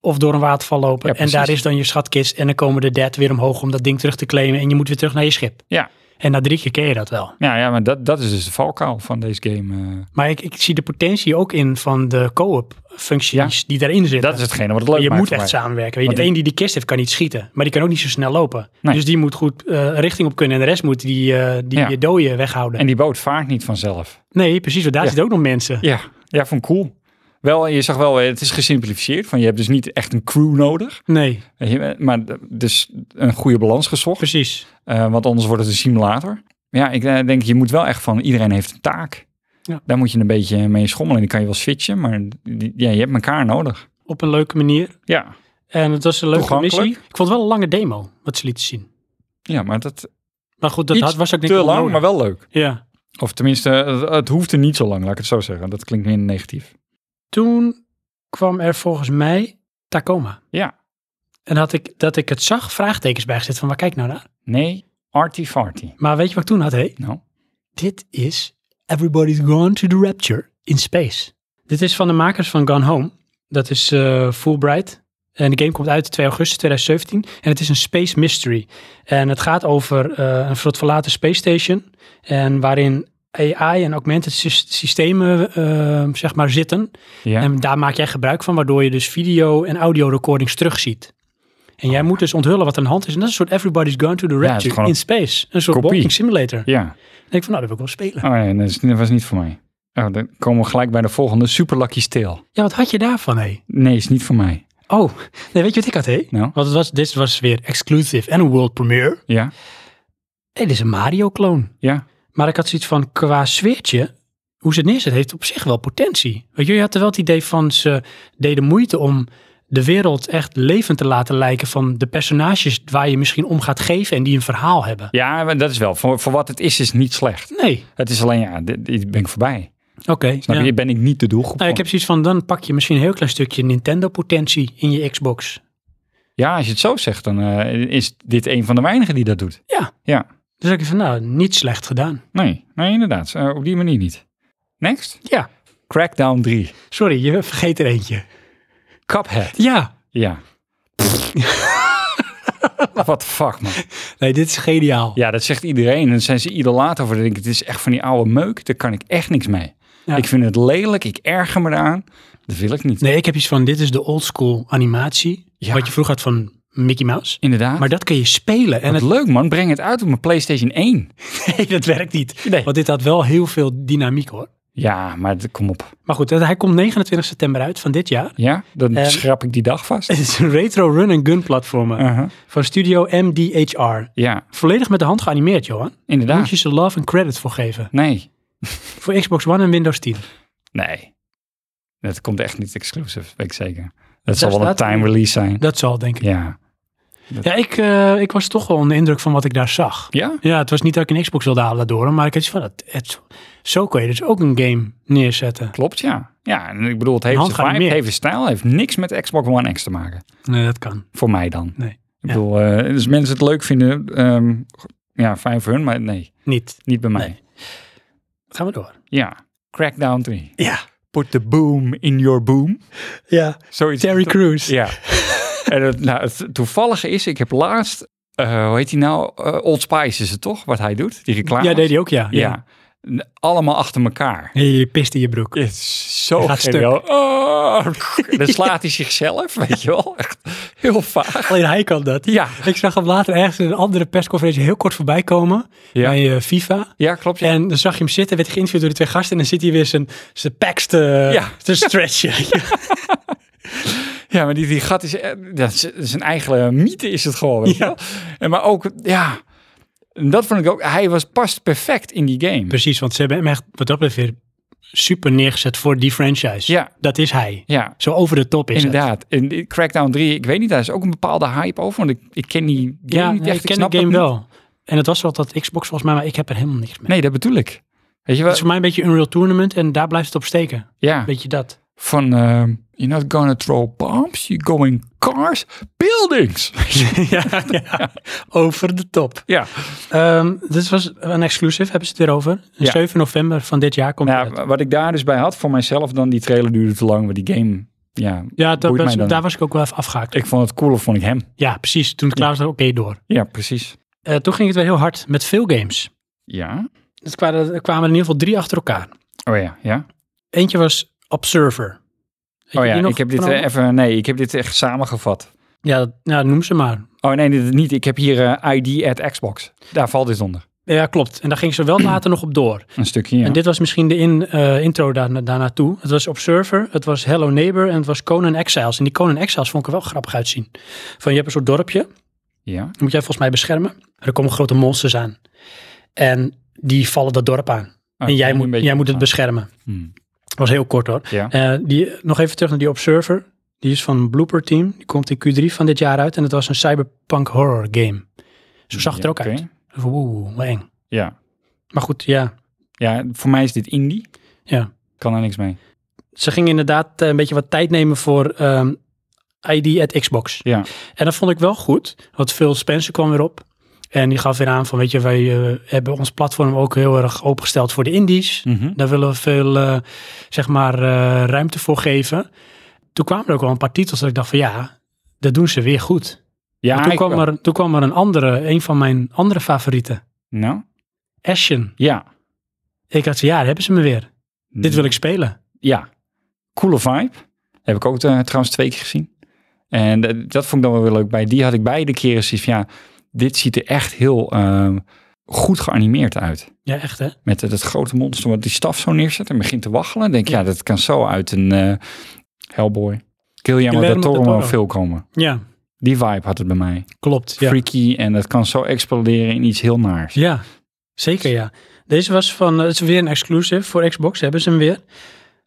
S1: of door een waterval lopen.
S2: Ja,
S1: en daar
S2: precies.
S1: is dan je schatkist en dan komen de dead weer omhoog om dat ding terug te claimen. En je moet weer terug naar je schip.
S2: Ja,
S1: En na drie keer ken je dat wel.
S2: ja, ja maar dat, dat is dus de valkuil van deze game. eh.
S1: Maar ik, ik zie de potentie ook in van de co-op functies die daarin zitten.
S2: eh. dat is hetgene wat het leuk
S1: je
S2: maakt
S1: moet
S2: voor
S1: echt
S2: mij.
S1: samenwerken. Weet je,
S2: Want
S1: de een die die kist heeft kan niet schieten, maar die kan ook niet zo snel lopen.
S2: Nee.
S1: Dus die moet goed eh, richting op kunnen en de rest moet die, eh, die
S2: Ja.
S1: je dooien weghouden.
S2: En die boot vaart niet vanzelf.
S1: nee, precies, want daar
S2: Ja.
S1: zitten ook nog mensen.
S2: Ja, ja, vond ik cool. Wel, je zag wel, eh, het is gesimplificeerd. Van je hebt dus niet echt een crew nodig.
S1: Nee,
S2: Weet je, Maar d- dus een goede balans gezocht.
S1: precies.
S2: eh, want anders wordt het een simulator. Ja, ik eh, denk, je moet wel echt van, iedereen heeft een taak.
S1: Ja.
S2: Daar moet je een beetje mee schommelen. Dan kan je wel switchen, maar die- ja, je hebt elkaar nodig.
S1: Op een leuke manier.
S2: Ja,
S1: En het was een leuke
S2: Toegankelijk.
S1: missie. Ik vond het wel een lange demo, wat ze lieten zien.
S2: ja maar dat
S1: Maar goed, dat
S2: Iets
S1: had, was ook niet
S2: te lang, maar wel leuk.
S1: Ja.
S2: Of tenminste, het, het hoefde niet zo lang, laat ik het zo zeggen. Dat klinkt meer negatief.
S1: Toen kwam er volgens mij Tacoma.
S2: Ja.
S1: En had ik, dat ik het zag, vraagtekens bijgezet van waar kijk nou naar.
S2: Nee, arty-farty.
S1: Maar weet je wat ik toen had, hé?
S2: Nou,
S1: Dit is Everybody's Gone to the Rapture in Space. Dit is van de makers van Gone Home. Dat is eh, Fulbright. En de game komt uit 2 augustus 2017. En het is een space mystery. En het gaat over eh, een soort verlaten space station. En waarin AI en augmented sys- systemen eh, zeg maar zitten.
S2: ja.
S1: En daar maak jij gebruik van, waardoor je dus video en audio recordings terugziet. En jij moet dus onthullen wat er aan de hand is. En dat is een soort Everybody's Gone to the
S2: Oh. het is
S1: Rapture
S2: gewoon
S1: in space. Een soort
S2: kopie.
S1: walking simulator.
S2: ja.
S1: Ik denk van, nou, dat wil ik wel spelen.
S2: Oh ja, dat, is- dat was niet voor mij. Oh, dan komen we gelijk bij de volgende. Super Lucky Steel.
S1: Ja, wat had je daarvan, hé?
S2: Nee, is niet voor mij.
S1: Oh, nee, weet je wat ik had, hé?
S2: Nou,
S1: Want het was, dit was weer exclusive en een world premiere.
S2: ja.
S1: Hey, dit is een Mario-kloon.
S2: Ja.
S1: Maar ik had zoiets van, qua sfeertje, hoe ze het neerzet, heeft op zich wel potentie. Want jullie hadden wel het idee van, ze deden moeite om de wereld echt levend te laten lijken van de personages waar je misschien om gaat geven en die een verhaal hebben.
S2: Ja, maar dat is wel. Voor, voor wat het is, is niet slecht.
S1: Nee,
S2: Het is alleen, ja, dit, dit ben ik voorbij.
S1: oké.
S2: Snap
S1: ja.
S2: je? Ben ik niet de doelgroep.
S1: Nou, ik
S2: van.
S1: heb zoiets van, dan pak je misschien een heel klein stukje Nintendo-potentie in je Xbox.
S2: Ja, als je het zo zegt, dan eh, is dit een van de weinigen die dat doet.
S1: Ja.
S2: Ja.
S1: Dus ik van, nou, niet slecht gedaan.
S2: Nee, nee inderdaad. Eh, op die manier niet. Next.
S1: Ja.
S2: Crackdown 3.
S1: Sorry, je vergeet er eentje.
S2: Cuphead.
S1: Ja.
S2: Ja. What the fuck, man.
S1: Nee, dit is geniaal.
S2: Ja, dat zegt iedereen. En dan zijn ze idolaat over. Dan denk ik, het is echt van die oude meuk. Daar kan ik echt niks mee.
S1: Ja.
S2: Ik vind het lelijk. Ik erger me eraan. Dat wil ik niet.
S1: Nee, ik heb iets van, dit is de oldschool animatie.
S2: Ja.
S1: Wat je vroeger had van Mickey Mouse.
S2: Inderdaad.
S1: Maar dat kun je spelen. En
S2: Wat
S1: het,
S2: leuk, man. Breng het uit op mijn PlayStation 1.
S1: nee, dat werkt niet.
S2: Nee.
S1: Want dit had wel heel veel dynamiek hoor.
S2: Ja, maar d- kom op.
S1: Maar goed, hij komt 29 september uit van dit jaar.
S2: Ja, dan
S1: Ehm.
S2: schrap ik die dag vast.
S1: Het is een retro run-and-gun platformer
S2: Uh-huh.
S1: van studio MDHR.
S2: Ja,
S1: Volledig met de hand geanimeerd, Johan. Daar moet
S2: inderdaad.
S1: je ze love en credit voor geven.
S2: Nee,
S1: Voor Xbox One en Windows 10.
S2: nee. Dat komt echt niet exclusive, weet ik zeker. Dat zal
S1: Daar
S2: wel een
S1: staat-
S2: time release zijn.
S1: Dat zal, denk ik.
S2: Ja.
S1: Ja, ik, eh, ik was toch wel onder de indruk van wat ik daar zag.
S2: Ja?
S1: Ja, het was niet dat ik een Xbox wilde halen door, maar ik had iets van, het, het, zo kun je dus ook een game neerzetten.
S2: Klopt, ja. Ja, en ik bedoel, het heeft
S1: Hand
S2: een vibe,
S1: geanimeerd.
S2: heeft een stijl, heeft niks met Xbox One X te maken.
S1: Nee, dat kan.
S2: Voor mij dan.
S1: Nee.
S2: Ik
S1: Ja.
S2: bedoel, eh, dus mensen het leuk vinden, ehm, ja, fijn voor hun, maar nee,
S1: Niet.
S2: niet bij mij.
S1: Nee. Gaan we door.
S2: Ja, Crackdown 3.
S1: Ja.
S2: Put the boom in your boom.
S1: Ja.
S2: Zoiets.
S1: Terry Crews.
S2: Ja. en het, nou, het toevallige is, ik heb laatst, eh, hoe heet die nou? Eh, Old Spice is het toch, wat hij doet? Die reclame.
S1: Ja, deed hij ook, ja.
S2: Ja. N- Allemaal achter elkaar.
S1: Hey, je pist in je broek.
S2: Het is zo
S1: Hij gaat
S2: geniaal. Oh, dan slaat hij zichzelf, weet je wel. Echt heel vaag.
S1: Alleen hij kan dat.
S2: Ja,
S1: Ik zag hem later ergens in een andere persconferentie heel kort voorbij komen.
S2: Ja.
S1: Bij eh, FIFA.
S2: ja klopt. Ja.
S1: En dan zag je hem zitten, werd hij geïnterviewd door de twee gasten. En dan zit hij weer zijn, zijn packs te,
S2: Ja.
S1: te stretchen. Ja.
S2: ja, maar die, die gat is, eh, dat is, dat is een eigen mythe is het gewoon. Weet je
S1: Ja.
S2: wel. En maar ook, ja, en dat vond ik ook. Hij was past perfect in die game.
S1: Precies, want ze hebben hem echt, wat dat betreft, weer super neergezet voor die franchise.
S2: Ja.
S1: Dat is hij.
S2: Ja,
S1: Zo over de top is het.
S2: inderdaad. En die Crackdown 3, ik weet niet, daar is ook een bepaalde hype over. Want ik, ik ken die game
S1: Ja,
S2: niet echt.
S1: ik ken
S2: snap
S1: de game
S2: dat niet.
S1: wel. En het was wel dat Xbox volgens mij, maar ik heb er helemaal niks mee.
S2: Nee, dat bedoel ik. Weet je
S1: Het
S2: wel?
S1: is voor mij een beetje Unreal Tournament en daar blijft het op steken.
S2: Ja.
S1: Beetje dat.
S2: van ehm, you're not gonna throw bombs, you're going cars, buildings.
S1: ja, over de top.
S2: ja,
S1: Ehm, dit was een exclusive, hebben ze het weer over.
S2: Ja.
S1: 7 november van dit jaar komt het.
S2: nou, ja, wat ik daar dus bij had voor mijzelf, dan die trailer duurde te lang, maar die game, ja,
S1: Ja, dat
S2: boeit
S1: was-
S2: mij dan.
S1: daar was ik ook wel even afgehaakt.
S2: ik vond het cooler, vond ik hem.
S1: Ja, precies. Toen ik klaar was, dacht ik, oké, door.
S2: Ja, precies.
S1: Eh, toen ging het weer heel hard met veel games.
S2: Ja,
S1: Het kwamen, er kwamen in ieder geval drie achter elkaar.
S2: oh ja, ja.
S1: Eentje was Observer. Weet je
S2: Oh
S1: die
S2: ja,
S1: nog
S2: ik heb dit
S1: van
S2: eh, even, nee, ik heb dit echt samengevat.
S1: Ja, dat- ja, noem ze maar.
S2: Oh nee, dit niet. Ik heb hier eh, ID at Xbox. Daar valt dit onder.
S1: Ja, klopt. En daar ging ze wel later nog op door.
S2: Een stukje, ja.
S1: En dit was misschien de in, eh, intro daar, daar naartoe. Het was Observer, het was Hello Neighbor en het was Conan Exiles. En die Conan Exiles vond ik er wel grappig uitzien. Van je hebt een soort dorpje, dat
S2: Ja,
S1: moet jij volgens mij beschermen. En er komen grote monsters aan. En die vallen dat dorp aan.
S2: Ah,
S1: en
S2: ik
S1: jij
S2: ben
S1: moet,
S2: een beetje
S1: jij moet het
S2: opgeslagen.
S1: beschermen.
S2: Hmm.
S1: Dat was heel kort hoor.
S2: Ja.
S1: Eh, die, nog even terug naar die Observer. Die is van Blooper Team. Die komt in Q3 van dit jaar uit. En het was een cyberpunk horror game. Zo zag het
S2: Ja,
S1: er ook
S2: oké.
S1: uit. Oeh, wat eng.
S2: Ja.
S1: Maar goed, ja.
S2: ja, voor mij is dit indie.
S1: ja.
S2: Kan er niks mee.
S1: Ze gingen inderdaad eh, een beetje wat tijd nemen voor ehm, ID at Xbox.
S2: Ja,
S1: En dat vond ik wel goed. Want Phil Spencer kwam weer op. En die gaf weer aan van, weet je, wij eh, hebben ons platform ook heel erg opengesteld voor de indies.
S2: Mhm.
S1: Daar willen we veel, eh, zeg maar, eh, ruimte voor geven. Toen kwamen er ook wel een paar titels dat ik dacht van, ja, dat doen ze weer goed.
S2: ja
S1: Maar toen,
S2: ik
S1: kwam
S2: wel.
S1: er, toen kwam er een andere, een van mijn andere favorieten.
S2: Nou,
S1: Ashen.
S2: ja.
S1: Ik had ze, ja, daar hebben ze me weer. Dit wil ik spelen.
S2: ja, coole vibe. Heb ik ook eh, trouwens twee keer gezien. En eh, dat vond ik dan wel weer leuk bij. Die had ik beide keren zoiets van, ja, dit ziet er echt heel eh, goed geanimeerd uit.
S1: Ja, echt hè?
S2: Met het, het grote monster wat die staf zo neerzet en begint te waggelen. Dan denk ik, ja, dat kan zo uit een eh Hellboy. Guillermo del
S1: Guillermo del
S2: Toro
S1: Toro.
S2: film komen.
S1: Ja.
S2: Die vibe had het bij mij.
S1: Klopt, ja.
S2: Freaky en dat kan zo exploderen in iets heel naars.
S1: Ja, zeker ja. Deze was van, eh, het is weer een exclusive voor Xbox, hebben ze hem weer.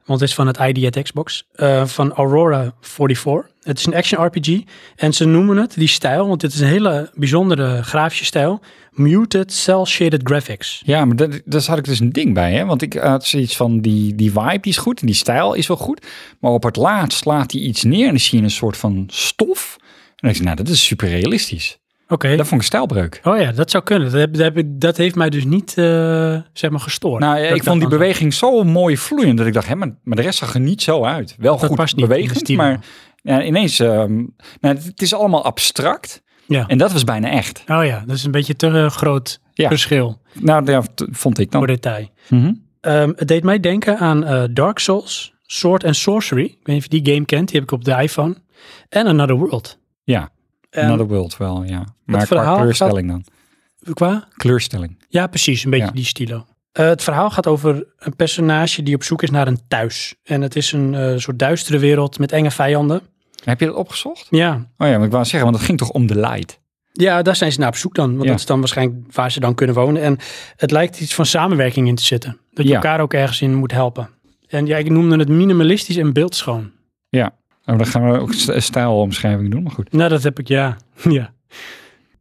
S1: Want het is van het ID at Xbox, eh, van Aurora 44. Het is een action RPG en ze noemen het, die stijl, want dit is een hele bijzondere grafische stijl, Muted Cell Shaded Graphics.
S2: Ja, maar dat, daar had ik dus een ding bij, hè? Want ik had zoiets van, die, die vibe die is goed en die stijl is wel goed. Maar op het laatst slaat hij iets neer en dan zie je een soort van stof. En dan denk ik, nou, dat is super realistisch.
S1: Oké.
S2: Dat vond ik stijlbreuk.
S1: Oh ja, dat zou kunnen. Dat, heb, dat, heb ik- dat heeft mij dus niet, eh, zeg maar, gestoord.
S2: Nou ja,
S1: Dat
S2: ik vond die
S1: dat-
S2: beweging zo mooi vloeiend dat ik dacht, hè, maar, maar de rest zag er niet zo uit. Wel
S1: Dat
S2: goed
S1: past niet in de
S2: bewegend,
S1: stijl.
S2: maar ja, ineens, ehm, nou, het is allemaal abstract.
S1: Ja.
S2: En dat was bijna echt.
S1: Oh ja, dat is een beetje te eh, groot
S2: Ja.
S1: verschil
S2: Nou, ja, t- vond ik
S1: voor
S2: dan.
S1: detail.
S2: Mhm.
S1: Ehm, het deed mij denken aan eh, Dark Souls, Sword and Sorcery. Ik weet niet of je die game kent, die heb ik op de iPhone. En Another World. Ehm,
S2: Ja,
S1: En
S2: Another World wel, ja. Maar qua
S1: verhaal
S2: kleurstelling dan.
S1: qua?
S2: Kleurstelling.
S1: Ja, precies, een beetje
S2: Ja.
S1: die stilo. Eh, het verhaal gaat over een personage die op zoek is naar een thuis. En het is een eh, soort duistere wereld met enge vijanden.
S2: Heb je dat opgezocht?
S1: Ja.
S2: Oh ja, maar ik wou zeggen, want het ging toch om de light.
S1: ja, daar zijn ze naar op zoek dan. Want
S2: Ja.
S1: dat is dan waarschijnlijk waar ze dan kunnen wonen. En het lijkt iets van samenwerking in te zitten. Dat je
S2: Ja.
S1: elkaar ook ergens in moet helpen. En ja, ik noemde het minimalistisch en beeldschoon.
S2: Nou, dan gaan we ook st- stijlomschrijving doen, maar goed.
S1: Nou, dat heb ik, ja. ja.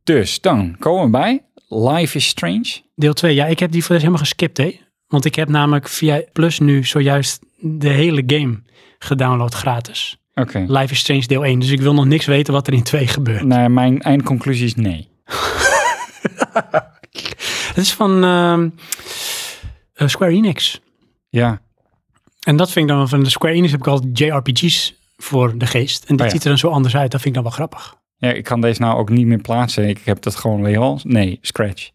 S2: Dus dan komen we bij Life is Strange.
S1: Deel 2, ja, ik heb die voor de rest helemaal geskipt, hè. Want ik heb namelijk via Plus nu zojuist de hele game gedownload gratis.
S2: Oké.
S1: Life is Strange deel 1, dus ik wil nog niks weten wat er in 2 gebeurt.
S2: Nou, mijn eindconclusie is nee.
S1: Het is van ehm, eh, Square Enix.
S2: Ja,
S1: En dat vind ik dan wel van de Square Enix heb ik altijd JRPG's voor de geest. En dit
S2: Oh ja.
S1: ziet er dan zo anders uit, dat vind ik dan wel grappig.
S2: Ja, ik kan deze nou ook niet meer plaatsen. Ik heb dat gewoon weer al. Nee, Scratch.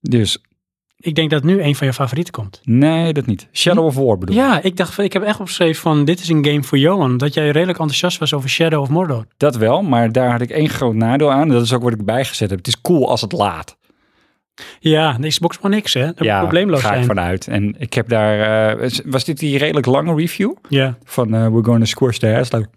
S2: Dus
S1: Ik denk dat nu een van je favorieten komt.
S2: nee, dat niet. Shadow of War bedoel ik.
S1: Ja, ik dacht, van- ik heb echt opgeschreven van dit is een game voor Johan. Dat jij redelijk enthousiast was over Shadow of Mordor.
S2: Dat wel, maar daar had ik één groot nadeel aan. Dat is ook wat ik bijgezet heb. Het is cool als het laat.
S1: Ja, de Xbox One X hè, dat moet
S2: ja,
S1: probleemloos
S2: ga ik
S1: zijn.
S2: vanuit. En ik heb daar... eh, was dit die redelijk lange review?
S1: Ja,
S2: Van eh, We're Gonna Squish the Ass. Like,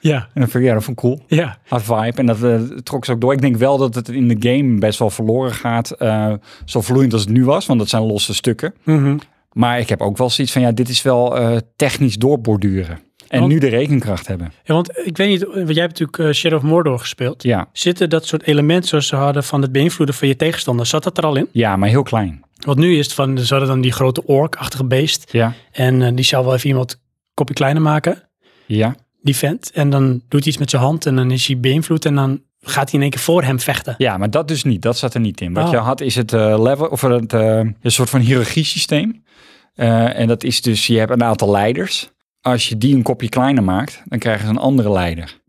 S1: ja,
S2: en dan vond ik, ja, dat vond ik cool.
S1: ja.
S2: Had vibe. En dat eh, trok ze ook door. Ik denk wel dat het in de game best wel verloren gaat. eh, zo vloeiend als het nu was. Want dat zijn losse stukken.
S1: Mhm.
S2: Maar ik heb ook wel zoiets van, ja, dit is wel eh, technisch doorborduren. En
S1: Want-
S2: nu de rekenkracht hebben.
S1: Ja, want ik weet niet, want jij hebt natuurlijk eh, Shadow of Mordor gespeeld.
S2: Ja.
S1: Zitten dat soort elementen zoals ze hadden van het beïnvloeden van je tegenstander, zat dat er al in?
S2: ja, maar heel klein.
S1: Want nu is het van, ze hadden dan die grote ork-achtige beest.
S2: Ja.
S1: En eh, die zou wel even iemand kopje kleiner maken,
S2: Ja.
S1: die vent. En dan doet hij iets met zijn hand en dan is hij beïnvloed en dan gaat hij in één keer voor hem vechten.
S2: ja, maar dat dus niet. Dat zat er niet in. Wat
S1: Oh.
S2: je had is het eh, level, of het, eh, een soort van hiërarchiesysteem. Eh, en dat is dus, je hebt een aantal leiders. Als je die een kopje kleiner maakt, dan krijgen ze een andere leider.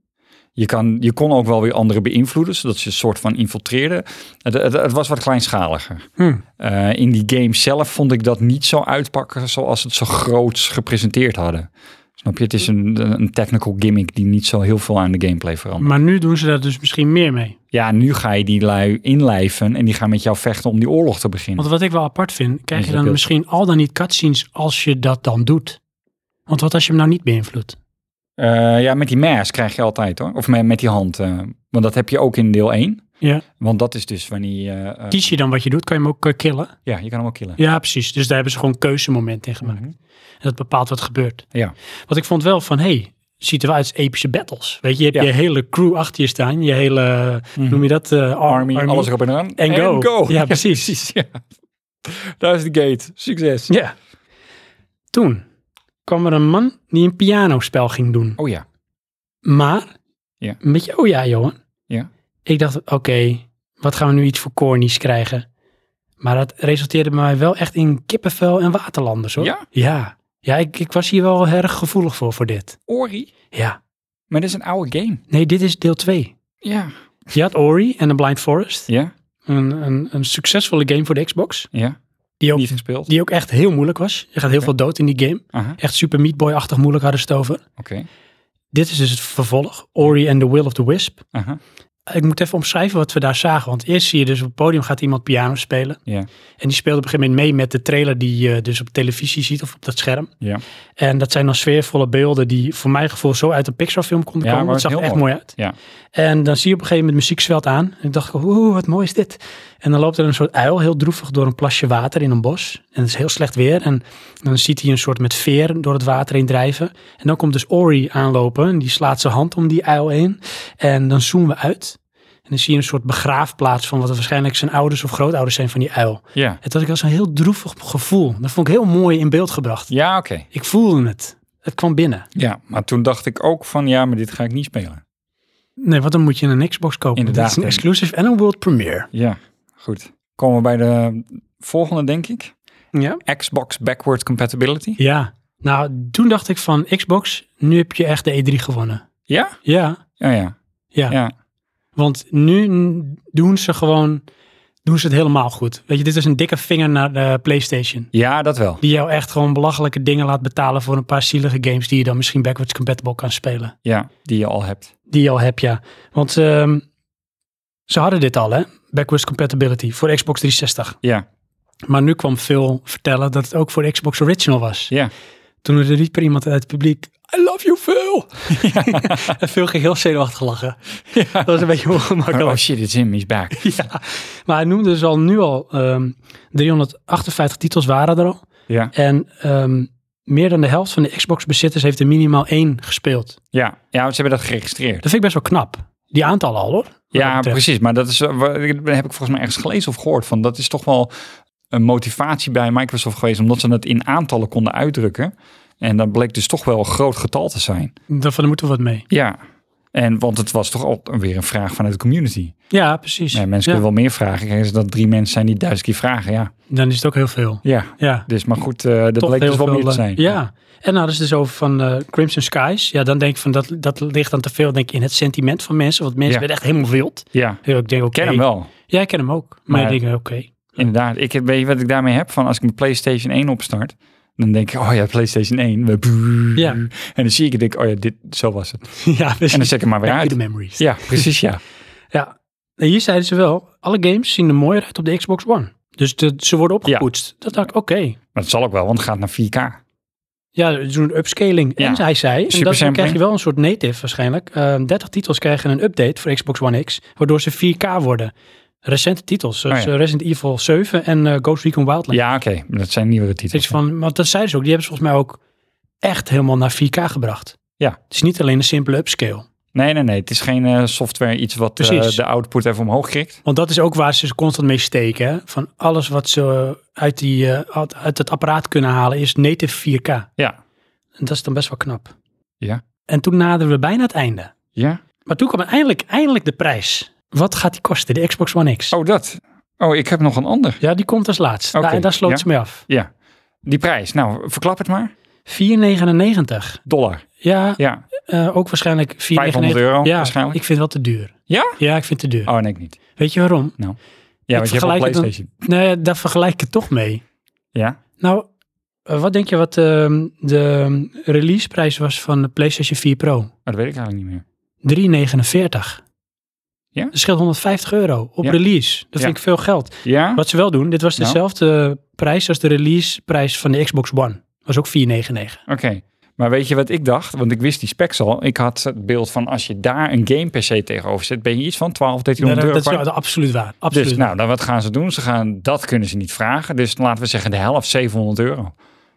S2: Je, kan, je kon ook wel weer anderen beïnvloeden, zodat ze een soort van infiltreerden. Het, het, het was wat kleinschaliger.
S1: Hm.
S2: Eh, in die game zelf vond ik dat niet zo uitpakken zoals het zo groots gepresenteerd hadden. Snap je? Het
S1: Hm.
S2: is een, een technical gimmick die niet zo heel veel aan de gameplay verandert.
S1: Maar nu doen ze daar dus misschien meer mee.
S2: Ja, nu ga je die lui inlijven en die gaan met jou vechten om die oorlog te beginnen.
S1: Want wat ik wel apart vind, krijg
S2: Is
S1: je
S2: dat
S1: dan
S2: heel-
S1: misschien al dan niet cutscenes als je dat dan doet. Want wat als je hem nou niet beïnvloedt?
S2: Eh, ja, met die mes krijg je altijd hoor. Of met, met die hand. eh, want dat heb je ook in deel 1.
S1: Ja.
S2: Want dat is dus wanneer je... eh, eh,
S1: Kies je dan wat je doet, kan je hem ook eh, killen?
S2: ja, je kan hem ook killen.
S1: Ja, precies. Dus daar hebben ze gewoon keuzemomenten in gemaakt.
S2: Mhm.
S1: En dat bepaalt wat gebeurt.
S2: Ja.
S1: Wat ik vond wel van, hé, hey, ziet er wel uit als epische battles. Weet je, je hebt
S2: Ja.
S1: je hele crew achter je staan. Je hele, noem je dat? eh, ar-
S2: Army, alles erop en eraan.
S1: En go. Ja, precies.
S2: Ja. Daar is de gate. Succes.
S1: Ja. Toen kwam er een man die een pianospel ging doen.
S2: Oh ja.
S1: Maar,
S2: Ja.
S1: een beetje, oh ja, Johan.
S2: Ja.
S1: Ik dacht, oké, wat gaan we nu iets voor cornies krijgen? Maar dat resulteerde bij mij wel echt in kippenvel en waterlanders, hoor.
S2: Ja?
S1: Ja, ja ik, ik was hier wel erg gevoelig voor, voor dit.
S2: Ori.
S1: Ja.
S2: Maar dit is een oude game.
S1: Nee, dit is deel 2.
S2: Ja.
S1: Je had Ori en The Blind Forest.
S2: Ja,
S1: Een, een, een succesvolle game voor de Xbox.
S2: ja.
S1: Die ook,
S2: Niet gespeeld.
S1: die ook echt heel moeilijk was. Je gaat heel veel dood in die game.
S2: Aha,
S1: Echt super Meat Boy-achtig moeilijk hadden ze het over.
S2: oké.
S1: Dit is dus het vervolg. Ori and the Will of the Wisp.
S2: Aha.
S1: Eh, ik moet even omschrijven wat we daar zagen. Want eerst zie je dus op het podium gaat iemand piano spelen.
S2: Ja.
S1: En die speelt op een gegeven moment mee met de trailer die je dus op televisie ziet of op dat scherm.
S2: Ja.
S1: En dat zijn dan sfeervolle beelden die voor mijn gevoel zo uit een Pixar-film konden
S2: Ja,
S1: komen.
S2: maar
S1: Het zag
S2: heel
S1: er echt
S2: mooi.
S1: mooi uit.
S2: Ja.
S1: En dan zie je op een gegeven moment muziek zwelt aan. En ik dacht, oeh, wat mooi is dit. En dan loopt er een soort uil, heel droevig, door een plasje water in een bos. En het is heel slecht weer. En dan ziet hij een soort met veer door het water heen drijven. En dan komt dus Ori aanlopen. En die slaat zijn hand om die uil heen. En dan zoomen we uit. En dan zie je een soort begraafplaats van wat er waarschijnlijk zijn ouders of grootouders zijn van die uil.
S2: Ja,
S1: Het had ik als een heel droevig gevoel. Dat vond ik heel mooi in beeld gebracht.
S2: ja oké.
S1: Ik voelde het. Het kwam binnen.
S2: Ja, maar toen dacht ik ook van ja, maar dit ga ik niet spelen.
S1: Nee, want dan moet je een Xbox kopen.
S2: Inderdaad.
S1: Dat is een exclusive en een world premiere.
S2: Ja, goed. Komen we bij de volgende, denk ik.
S1: Ja?
S2: Xbox Backward Compatibility.
S1: Ja. Nou, toen dacht ik van Xbox, nu heb je echt de E3 gewonnen.
S2: Ja?
S1: Ja,
S2: Ja, ja.
S1: ja.
S2: Ja,
S1: Want nu n- doen ze gewoon, doen ze het helemaal goed. Weet je, dit is een dikke vinger naar de PlayStation.
S2: ja dat wel.
S1: Die jou echt gewoon belachelijke dingen laat betalen voor een paar zielige games die je dan misschien backwards compatible kan spelen.
S2: Ja, die je al hebt.
S1: Die je al hebt, ja. Want ehm, ze hadden dit al, hè? Backwards compatibility voor Xbox 360.
S2: Ja,
S1: Maar nu kwam Phil vertellen dat het ook voor de Xbox Original was.
S2: ja.
S1: Toen er riep er iemand uit het publiek, I love you Phil. en Phil ging heel zenuwachtig lachen. Dat was een beetje
S2: Oh
S1: ongemakkelijk.
S2: shit, it's him, he's back.
S1: ja. Maar hij noemde dus al nu al, ehm, 358 titels waren er al.
S2: Ja,
S1: En ehm, meer dan de helft van de Xbox bezitters heeft er minimaal één gespeeld.
S2: ja. ja ze hebben dat geregistreerd.
S1: Dat vind ik best wel knap. Die aantallen al hoor. Wat dat
S2: Ja,
S1: betreft.
S2: precies. Maar dat is, eh, wa- ik- heb ik volgens mij ergens gelezen of gehoord van. Dat is toch wel een motivatie bij Microsoft geweest, omdat ze dat in aantallen konden uitdrukken. En dat bleek dus toch wel een groot getal te zijn.
S1: Daarvan moeten we wat mee.
S2: Ja. En want het was toch al weer een vraag vanuit de community.
S1: Ja, precies.
S2: Ja, mensen
S1: Ja,
S2: kunnen wel meer vragen. Kijk, als dat drie mensen zijn die duizend keer vragen, ja.
S1: Dan is het ook heel veel.
S2: Ja,
S1: Ja.
S2: dus maar goed, eh, dat
S1: Toch
S2: bleek dus
S1: heel
S2: wel meer
S1: veel,
S2: te
S1: eh,
S2: zijn.
S1: Ja. En nou, dat is dus over van eh, Crimson Skies. Ja, dan denk ik van dat, dat ligt dan te veel denk ik, in het sentiment van mensen. Want mensen
S2: Ja.
S1: werden echt helemaal wild.
S2: ja.
S1: Ja, Ik denk, oké.
S2: Ik ken hem wel.
S1: Ja, ik ken hem ook. Maar,
S2: Maar-
S1: ik denk, oké.
S2: Inderdaad. Ik heb, weet je wat ik daarmee heb? Van als ik mijn PlayStation 1 opstart, dan denk ik, oh ja, PlayStation 1. We-
S1: Ja.
S2: En dan zie ik het, denk ik, oh ja, dit, zo was het.
S1: ja, precies.
S2: Mhm. En dan zet ik hem maar weer
S1: Back to
S2: uit.
S1: the memories. Ja.
S2: Ja, precies, ja.
S1: En hier zeiden ze wel, alle games zien er mooier uit op de Xbox One. Dus de, ze worden opgepoetst. Dat dacht ik, oké.
S2: Maar dat zal ook wel, want het gaat naar 4K.
S1: Ja, ze doen een upscaling.
S2: Ja.
S1: En hij zei, en
S2: Super
S1: dat, dan
S2: sampling.
S1: krijg je wel een soort native waarschijnlijk. Eh 30 titels krijgen een update voor Xbox One X, waardoor ze 4K worden. Recente titels, zoals
S2: Oh ja.
S1: eh, Resident Evil 7 en eh, Ghost Recon Wildlands.
S2: Ja, oké. maar Dat zijn nieuwere
S1: Iets
S2: titels.
S1: van, want dat zeiden ze ook, die hebben ze volgens mij ook echt helemaal naar 4K gebracht.
S2: Ja.
S1: Het is niet alleen een simpele upscale.
S2: Nee, nee, nee. Het is geen eh, software, iets wat eh,
S1: Precies.
S2: de output even omhoog krikt.
S1: Want dat is ook waar ze ze constant mee steken. Hè? Van alles wat ze uit, die, eh, uit- uit het apparaat kunnen halen is native 4K.
S2: Ja.
S1: En dat is dan best wel knap.
S2: Ja.
S1: En toen naderen we bijna het einde.
S2: Ja.
S1: Maar toen kwam eindelijk, eindelijk de prijs. Wat gaat die kosten, de Xbox One X?
S2: Oh, dat. Oh, ik heb nog een ander.
S1: Ja, die komt als laatst.
S2: Oké,
S1: Daar, daar sloot
S2: ja.
S1: ze mee af.
S2: Ja. Die prijs. Nou, verklap het maar.
S1: 4,99.
S2: Dollar.
S1: Ja,
S2: Ja.
S1: eh, ook waarschijnlijk 4,99.
S2: 500 euro
S1: Ja,
S2: waarschijnlijk.
S1: ik vind het wel te duur.
S2: Ja?
S1: Ja, ik vind het te duur.
S2: Oh, nee, ik niet.
S1: Weet je waarom? Ik
S2: Ja, want je hebt een
S1: vergelijk het dan-
S2: PlayStation.
S1: Nou ja, daar vergelijk ik het toch mee.
S2: Ja.
S1: Nou, eh, wat denk je wat ehm, de ehm, releaseprijs was van de PlayStation 4 Pro?
S2: Oh, dat weet ik eigenlijk niet meer.
S1: 3,49.
S2: Ja?
S1: Dat scheelt 150 euro op
S2: Ja.
S1: release. Dat
S2: Ja.
S1: vind ik veel geld.
S2: Ja.
S1: Wat ze wel doen, dit was
S2: Nou.
S1: dezelfde prijs als de releaseprijs van de Xbox One. Was ook 4,99.
S2: Oké. Maar weet je wat ik dacht? Want ik wist die specs al. Ik had het beeld van als je daar een game per se tegenover zet, ben je iets van 12, 1300
S1: dat, dat
S2: euro.
S1: is wel-
S2: kwijt.
S1: dat absoluut waar. Absoluut.
S2: dus nou, dan wat gaan ze doen? Ze gaan, dat kunnen ze niet vragen. Dus laten we zeggen de helft, 700 euro.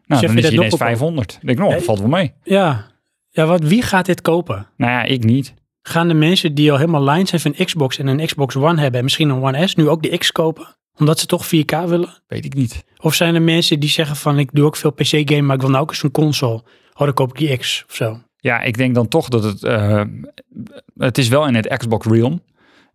S2: Nou,
S1: je
S2: dan is
S1: dat
S2: je ineens
S1: nog wel-
S2: 500. Ik denk, nou, dat
S1: Ja,
S2: valt wel mee.
S1: Ja, ja wat, wie gaat dit kopen?
S2: Nou ja, ik niet.
S1: Gaan de mensen die al helemaal line zijn van Xbox en een Xbox One hebben en misschien een One S nu ook de X kopen? Omdat ze toch 4K willen?
S2: Weet ik niet.
S1: Of zijn er mensen die zeggen van ik doe ook veel PC-game, maar ik wil nou ook eens een console. Oh, dan koop ik die X of zo.
S2: Ja, ik denk dan toch dat het... eh, het is wel in het Xbox realm.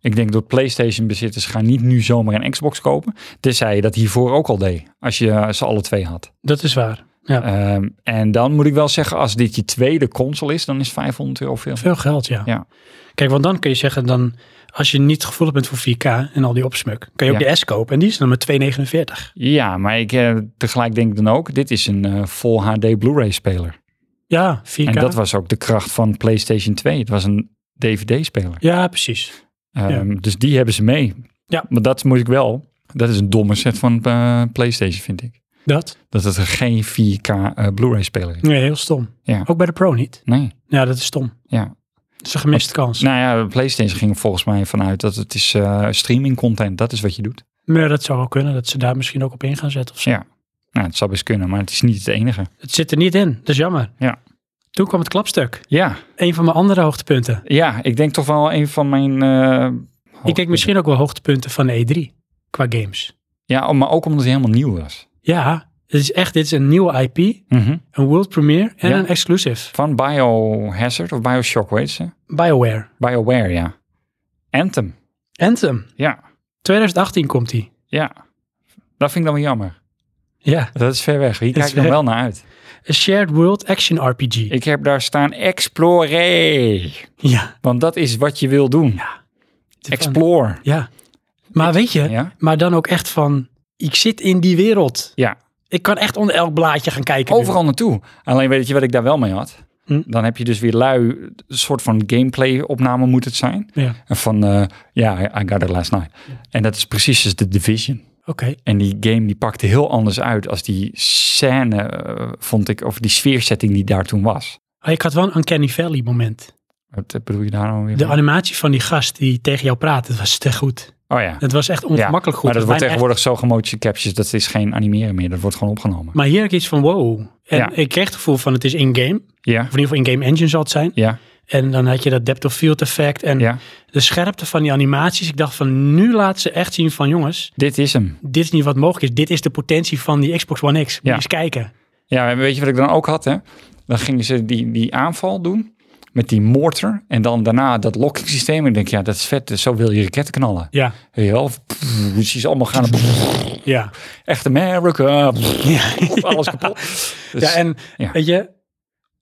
S2: Ik denk dat PlayStation-bezitters gaan niet nu zomaar een Xbox kopen. Tenzij je dat hiervoor ook al deed. Als je ze alle twee had.
S1: Dat is waar.
S2: Ehm, en dan moet ik wel zeggen, als dit je tweede console is, dan is 500 euro veel.
S1: Veel geld, ja.
S2: Ja.
S1: Kijk, want dan kun je zeggen dan, als je niet gevoelig bent voor 4K en al die opsmuk, kun je ook
S2: Ja.
S1: de S kopen. En die is dan met 2,49.
S2: Ja, maar ik eh, tegelijk denk dan ook, dit is een eh, Full HD Blu-ray speler.
S1: Ja, 4K.
S2: En dat was ook de kracht van PlayStation 2. Het was een DVD-speler.
S1: Ja, precies.
S2: Ehm, Dus die hebben ze mee.
S1: Ja.
S2: Maar dat moet ik wel. Dat is een domme set van eh, PlayStation, vind ik.
S1: Dat?
S2: Dat het geen 4K eh, Blu-ray speler is.
S1: Nee, heel stom.
S2: Ja.
S1: Ook bij de Pro niet.
S2: Nee.
S1: Ja, dat is stom.
S2: Ja.
S1: Dat is een gemiste kans.
S2: Nou ja, PlayStation ging er volgens mij vanuit dat het is eh, streaming content. Dat is wat je doet.
S1: Maar dat zou wel kunnen, dat ze daar misschien ook op in gaan zetten of zo.
S2: Ja. Nou, het zou best kunnen, maar het is niet het enige.
S1: Het zit er niet in, dat is jammer.
S2: Ja.
S1: Toen kwam het klapstuk.
S2: Ja,
S1: Een van mijn andere hoogtepunten.
S2: ja ik denk toch wel een van mijn... eh,
S1: Ik kijk misschien ook wel hoogtepunten van E3 qua games.
S2: Ja, oh, maar ook omdat hij helemaal nieuw was.
S1: Ja, het is echt, dit is een nieuwe IP, een world premiere en
S2: Ja.
S1: een exclusive.
S2: Van Biohazard of Bioshock, weet ze?
S1: BioWare.
S2: Bioware, ja. Anthem,
S1: Anthem.
S2: ja.
S1: 2018 komt die.
S2: Ja. Dat vind ik dan wel jammer.
S1: Ja,
S2: Dat is ver weg. Hier kijk
S1: is
S2: ik dan
S1: ver-
S2: wel naar uit.
S1: een shared world action RPG.
S2: Ik heb daar staan Explore.
S1: Ja.
S2: Want dat is wat je wil doen. Explore.
S1: Ja. Maar weet je,
S2: Ja?
S1: maar dan ook echt van, ik zit in die wereld.
S2: Ja.
S1: Ik kan echt onder elk blaadje gaan kijken. nu.
S2: Overal naartoe. Alleen weet je wat ik daar wel mee had?
S1: Hm?
S2: Dan heb je dus weer lui, een soort van gameplay opname moet het zijn.
S1: Ja.
S2: En Van, eh, ja, I got it last night. En dat is precies dus de Division.
S1: Oké.
S2: En die game die pakte heel anders uit als die scène, eh, vond ik, of die sfeersetting die daar toen was.
S1: Ah, ik had wel een Uncanny Valley moment.
S2: Wat eh, bedoel je daar nou weer?
S1: De
S2: mee?
S1: animatie van die gast die tegen jou praat, dat was te goed.
S2: oh ja.
S1: Het was echt
S2: ja.
S1: ongemakkelijk goed.
S2: Maar dat
S1: bijna
S2: wordt
S1: echt-
S2: tegenwoordig zo gemotion captures, dat is geen animeren meer. Dat wordt gewoon opgenomen.
S1: Maar hier heb ik iets van wow. En
S2: Ja.
S1: ik kreeg het gevoel van het is in-game.
S2: Ja,
S1: Of in ieder geval in-game engine zal het zijn.
S2: ja,
S1: En dan had je dat depth of field effect. En
S2: ja.
S1: de scherpte van die animaties. Ik dacht van nu laat ze echt zien van jongens.
S2: Dit is hem.
S1: Dit is niet wat mogelijk is. Dit is de potentie van die Xbox One X. Moet je
S2: Ja.
S1: eens kijken.
S2: Ja, en weet je wat ik dan ook had, hè? Dan gingen ze die, die aanval doen met die mortar en dan daarna dat locking systeem. En ik denk, ja, dat is vet. dus Zo wil je raketten knallen.
S1: Ja,
S2: Weet je wel? Pff, Je ziet ze allemaal gaan. Pff,
S1: ja.
S2: Echt America. Pff,
S1: Ja,
S2: alles kapot. Dus,
S1: ja en
S2: ja.
S1: weet je,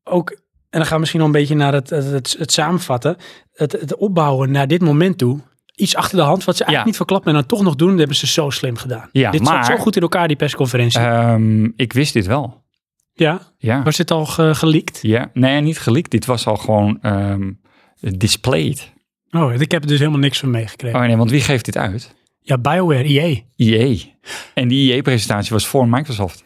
S1: ook... En dan gaan we misschien nog een beetje naar het, het, het, het samenvatten. Het, het opbouwen naar dit moment toe. Iets achter de hand wat ze eigenlijk
S2: Ja.
S1: niet verklappen. En dan toch nog doen, dat hebben ze zo slim gedaan.
S2: Ja,
S1: dit
S2: maar-
S1: zat zo goed in elkaar, die persconferentie.
S2: ehm, ik wist dit wel.
S1: ja.
S2: Ja.
S1: Was dit al ge- geleakt?
S2: ja. Nee, niet geleakt. Dit was al gewoon ehm, displayed.
S1: Oh, ik heb er dus helemaal niks van meegekregen.
S2: Oh nee, want wie geeft dit uit?
S1: Ja, BioWare, E EA.
S2: EA. En die EA-presentatie was voor Microsoft.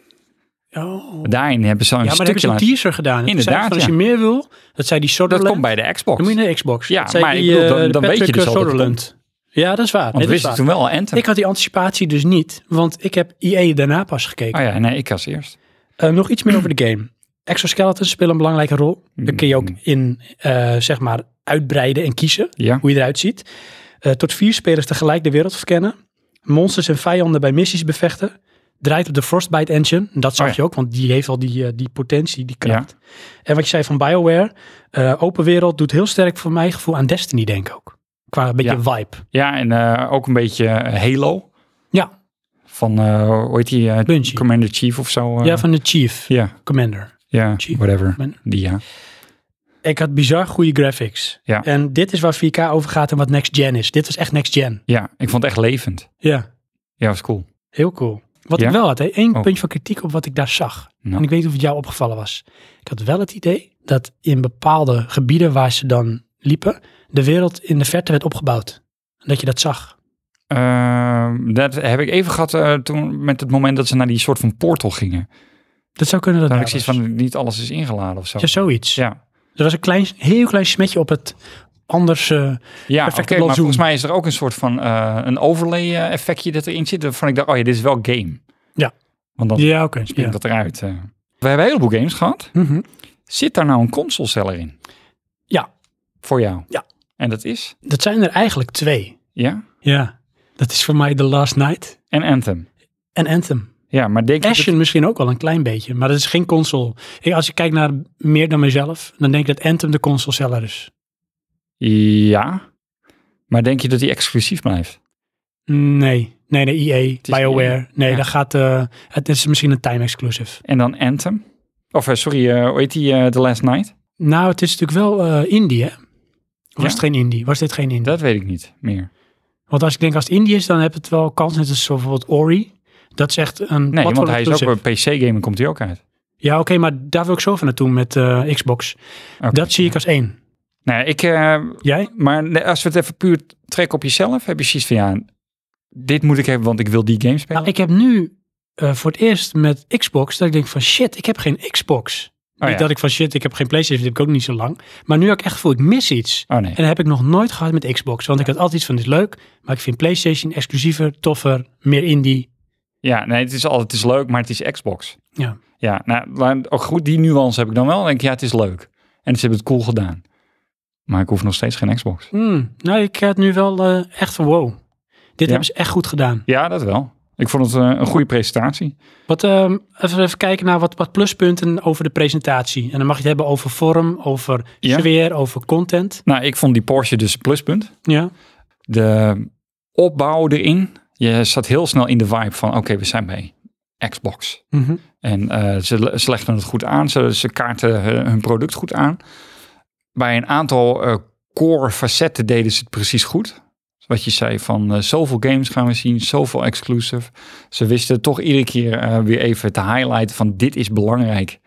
S1: Oh.
S2: Daarin hebben ze al een
S1: Ja, maar daar hebben
S2: stukje
S1: ze een
S2: laten-
S1: teaser gedaan. Toen zei ze
S2: Inderdaad,
S1: van, Als
S2: ja.
S1: je meer wil, dat zei die
S2: Dat
S1: Soderland.
S2: komt bij de Xbox.
S1: Dan moet je naar de Xbox.
S2: Ja,
S1: Dat zei
S2: maar ik
S1: die,
S2: bedoel,
S1: eh,
S2: dan- dan weet je
S1: Patrick
S2: dus al dat het
S1: Soderland. Ja, dat is waar.
S2: Want
S1: Nee,
S2: we
S1: dat is
S2: wisten
S1: waar.
S2: toen wel Anthem.
S1: Ik had die anticipatie dus niet, want ik heb EA daarna pas gekeken.
S2: Oh ja, nee, ik als eerst.
S1: Eh, nog iets meer over de game. Exoskeletons spelen een belangrijke rol.
S2: Hmm.
S1: Daar kun je ook in, eh, zeg maar, uitbreiden en kiezen.
S2: Ja.
S1: hoe je eruit ziet. Eh, tot vier spelers tegelijk de wereld verkennen. Monsters en vijanden bij missies bevechten. Draait op de Frostbite Engine. Dat zag
S2: Oh
S1: je
S2: ja.
S1: ook, want die heeft al die, eh, die potentie, die kracht. En wat je zei van BioWare. eh, open wereld doet heel sterk voor mijn gevoel aan Destiny, denk ik ook. Qua een beetje vibe.
S2: Ja, en eh, ook een beetje eh, Halo.
S1: Ja,
S2: Van, eh hoe heet die? eh,
S1: Bungie.
S2: Commander Chief of zo. eh?
S1: ja, van de Chief
S2: ja,
S1: Commander.
S2: ja,
S1: Chief.
S2: whatever.
S1: Men-
S2: Die, ja.
S1: Ik had bizar goede graphics.
S2: Ja.
S1: En dit is waar 4K over gaat en wat next gen is. Dit was echt next gen.
S2: ja, ik vond het echt levend.
S1: Ja.
S2: Ja, was cool.
S1: Heel cool. Wat
S2: Ja?
S1: ik wel had, hè, één
S2: Oh.
S1: puntje van kritiek op wat ik daar zag.
S2: Nou.
S1: En ik weet niet of het jou opgevallen was. Ik had wel het idee dat in bepaalde gebieden waar ze dan liepen, de wereld in de verte werd opgebouwd. En dat je dat zag.
S2: Ehm, dat heb ik even gehad eh, toen met het moment dat ze naar die soort van portal gingen.
S1: Dat zou kunnen dat
S2: Dan had
S1: daar
S2: ik zoiets
S1: was.
S2: van, niet alles is ingeladen of zo.
S1: Ja, zoiets.
S2: Ja,
S1: Er was een klein, heel klein smetje op het anders. eh,
S2: ja oké,
S1: Perfecte
S2: maar
S1: blauwzoen.
S2: volgens mij is er ook een soort van eh, een overlay eh, effectje dat erin zit. Waarvan ik dacht, oh ja, dit is wel game.
S1: Ja.
S2: Want dan
S1: ja, oké.
S2: springt
S1: Ja.
S2: dat eruit. eh. We hebben een heleboel games gehad.
S1: Mhm.
S2: Zit daar nou een consoleseller in?
S1: Ja.
S2: Voor jou?
S1: Ja.
S2: En dat is?
S1: Dat zijn er eigenlijk twee.
S2: Ja.
S1: Ja. Dat is voor mij The Last Night
S2: En Anthem.
S1: en Anthem.
S2: Ja, maar denk je dat-
S1: Ashen misschien ook wel een klein beetje, maar dat is geen console. Ik- als ik kijk naar meer dan mezelf, dan denk ik dat Anthem de console seller is.
S2: Ja. Maar denk je dat die exclusief blijft?
S1: Nee, nee, de EA,
S2: is
S1: BioWare.
S2: EA.
S1: Nee,
S2: Ja.
S1: dat gaat, eh, het is misschien een time exclusive.
S2: En dan Anthem? Of eh, sorry, eh hoe heet die eh, The Last Night?
S1: Nou, het is natuurlijk wel eh, indie, hè? Of
S2: Ja?
S1: was het geen indie? Was dit geen indie?
S2: Dat weet ik niet meer.
S1: Want als ik denk als het indie is, dan heb het wel kans, net als bijvoorbeeld Ori. Dat is echt een
S2: Nee, want hij is ook
S1: exclusive.
S2: een PC-game en komt hij ook uit.
S1: Ja, oké, maar daar wil ik zo van naartoe met eh, Xbox.
S2: Oké.
S1: Dat zie ik als één.
S2: Nee, ik, eh,
S1: Jij?
S2: maar ne- als we het even puur trekken op jezelf, heb je zoiets van ja, dit moet ik hebben, want ik wil die game spelen.
S1: Nou, ik heb nu eh, voor het eerst met Xbox dat ik denk van shit, ik heb geen Xbox.
S2: Oh,
S1: niet
S2: ja.
S1: dat ik van shit, ik heb geen PlayStation, die heb ik ook niet zo lang. Maar nu heb ik echt gevoel, ik mis iets.
S2: Oh nee.
S1: En dat heb ik nog nooit gehad met Xbox. Want ik had altijd iets van, dit is leuk. Maar ik vind PlayStation exclusiever, toffer, meer indie.
S2: Ja, nee, het is, al, het is leuk, maar het is Xbox.
S1: Ja.
S2: Ja, nou, la- ook goed, die nuance heb ik dan wel. Dan denk ik, ja, het is leuk. En ze hebben het cool gedaan. Maar ik hoef nog steeds geen Xbox.
S1: Hmm, nou, ik heb het nu wel eh, echt van wow. Dit
S2: Ja.
S1: hebben ze echt goed gedaan.
S2: Ja, dat wel. Ik vond het eh, een goede presentatie.
S1: Wat, ehm, even, even kijken naar wat, wat pluspunten over de presentatie. En dan mag je het hebben over vorm, over
S2: Ja.
S1: sfeer, over content.
S2: Nou, ik vond die Porsche dus een pluspunt.
S1: Ja.
S2: de opbouw erin. Je zat heel snel in de vibe van, oké, we zijn bij Xbox.
S1: Mhm.
S2: En eh, ze, ze legden het goed aan, ze, ze kaarten eh, hun, hun product goed aan. Bij een aantal eh, core facetten deden ze het precies goed. Wat je zei van eh, zoveel games gaan we zien, zoveel exclusive. Ze wisten toch iedere keer eh, weer even te highlighten van dit is belangrijk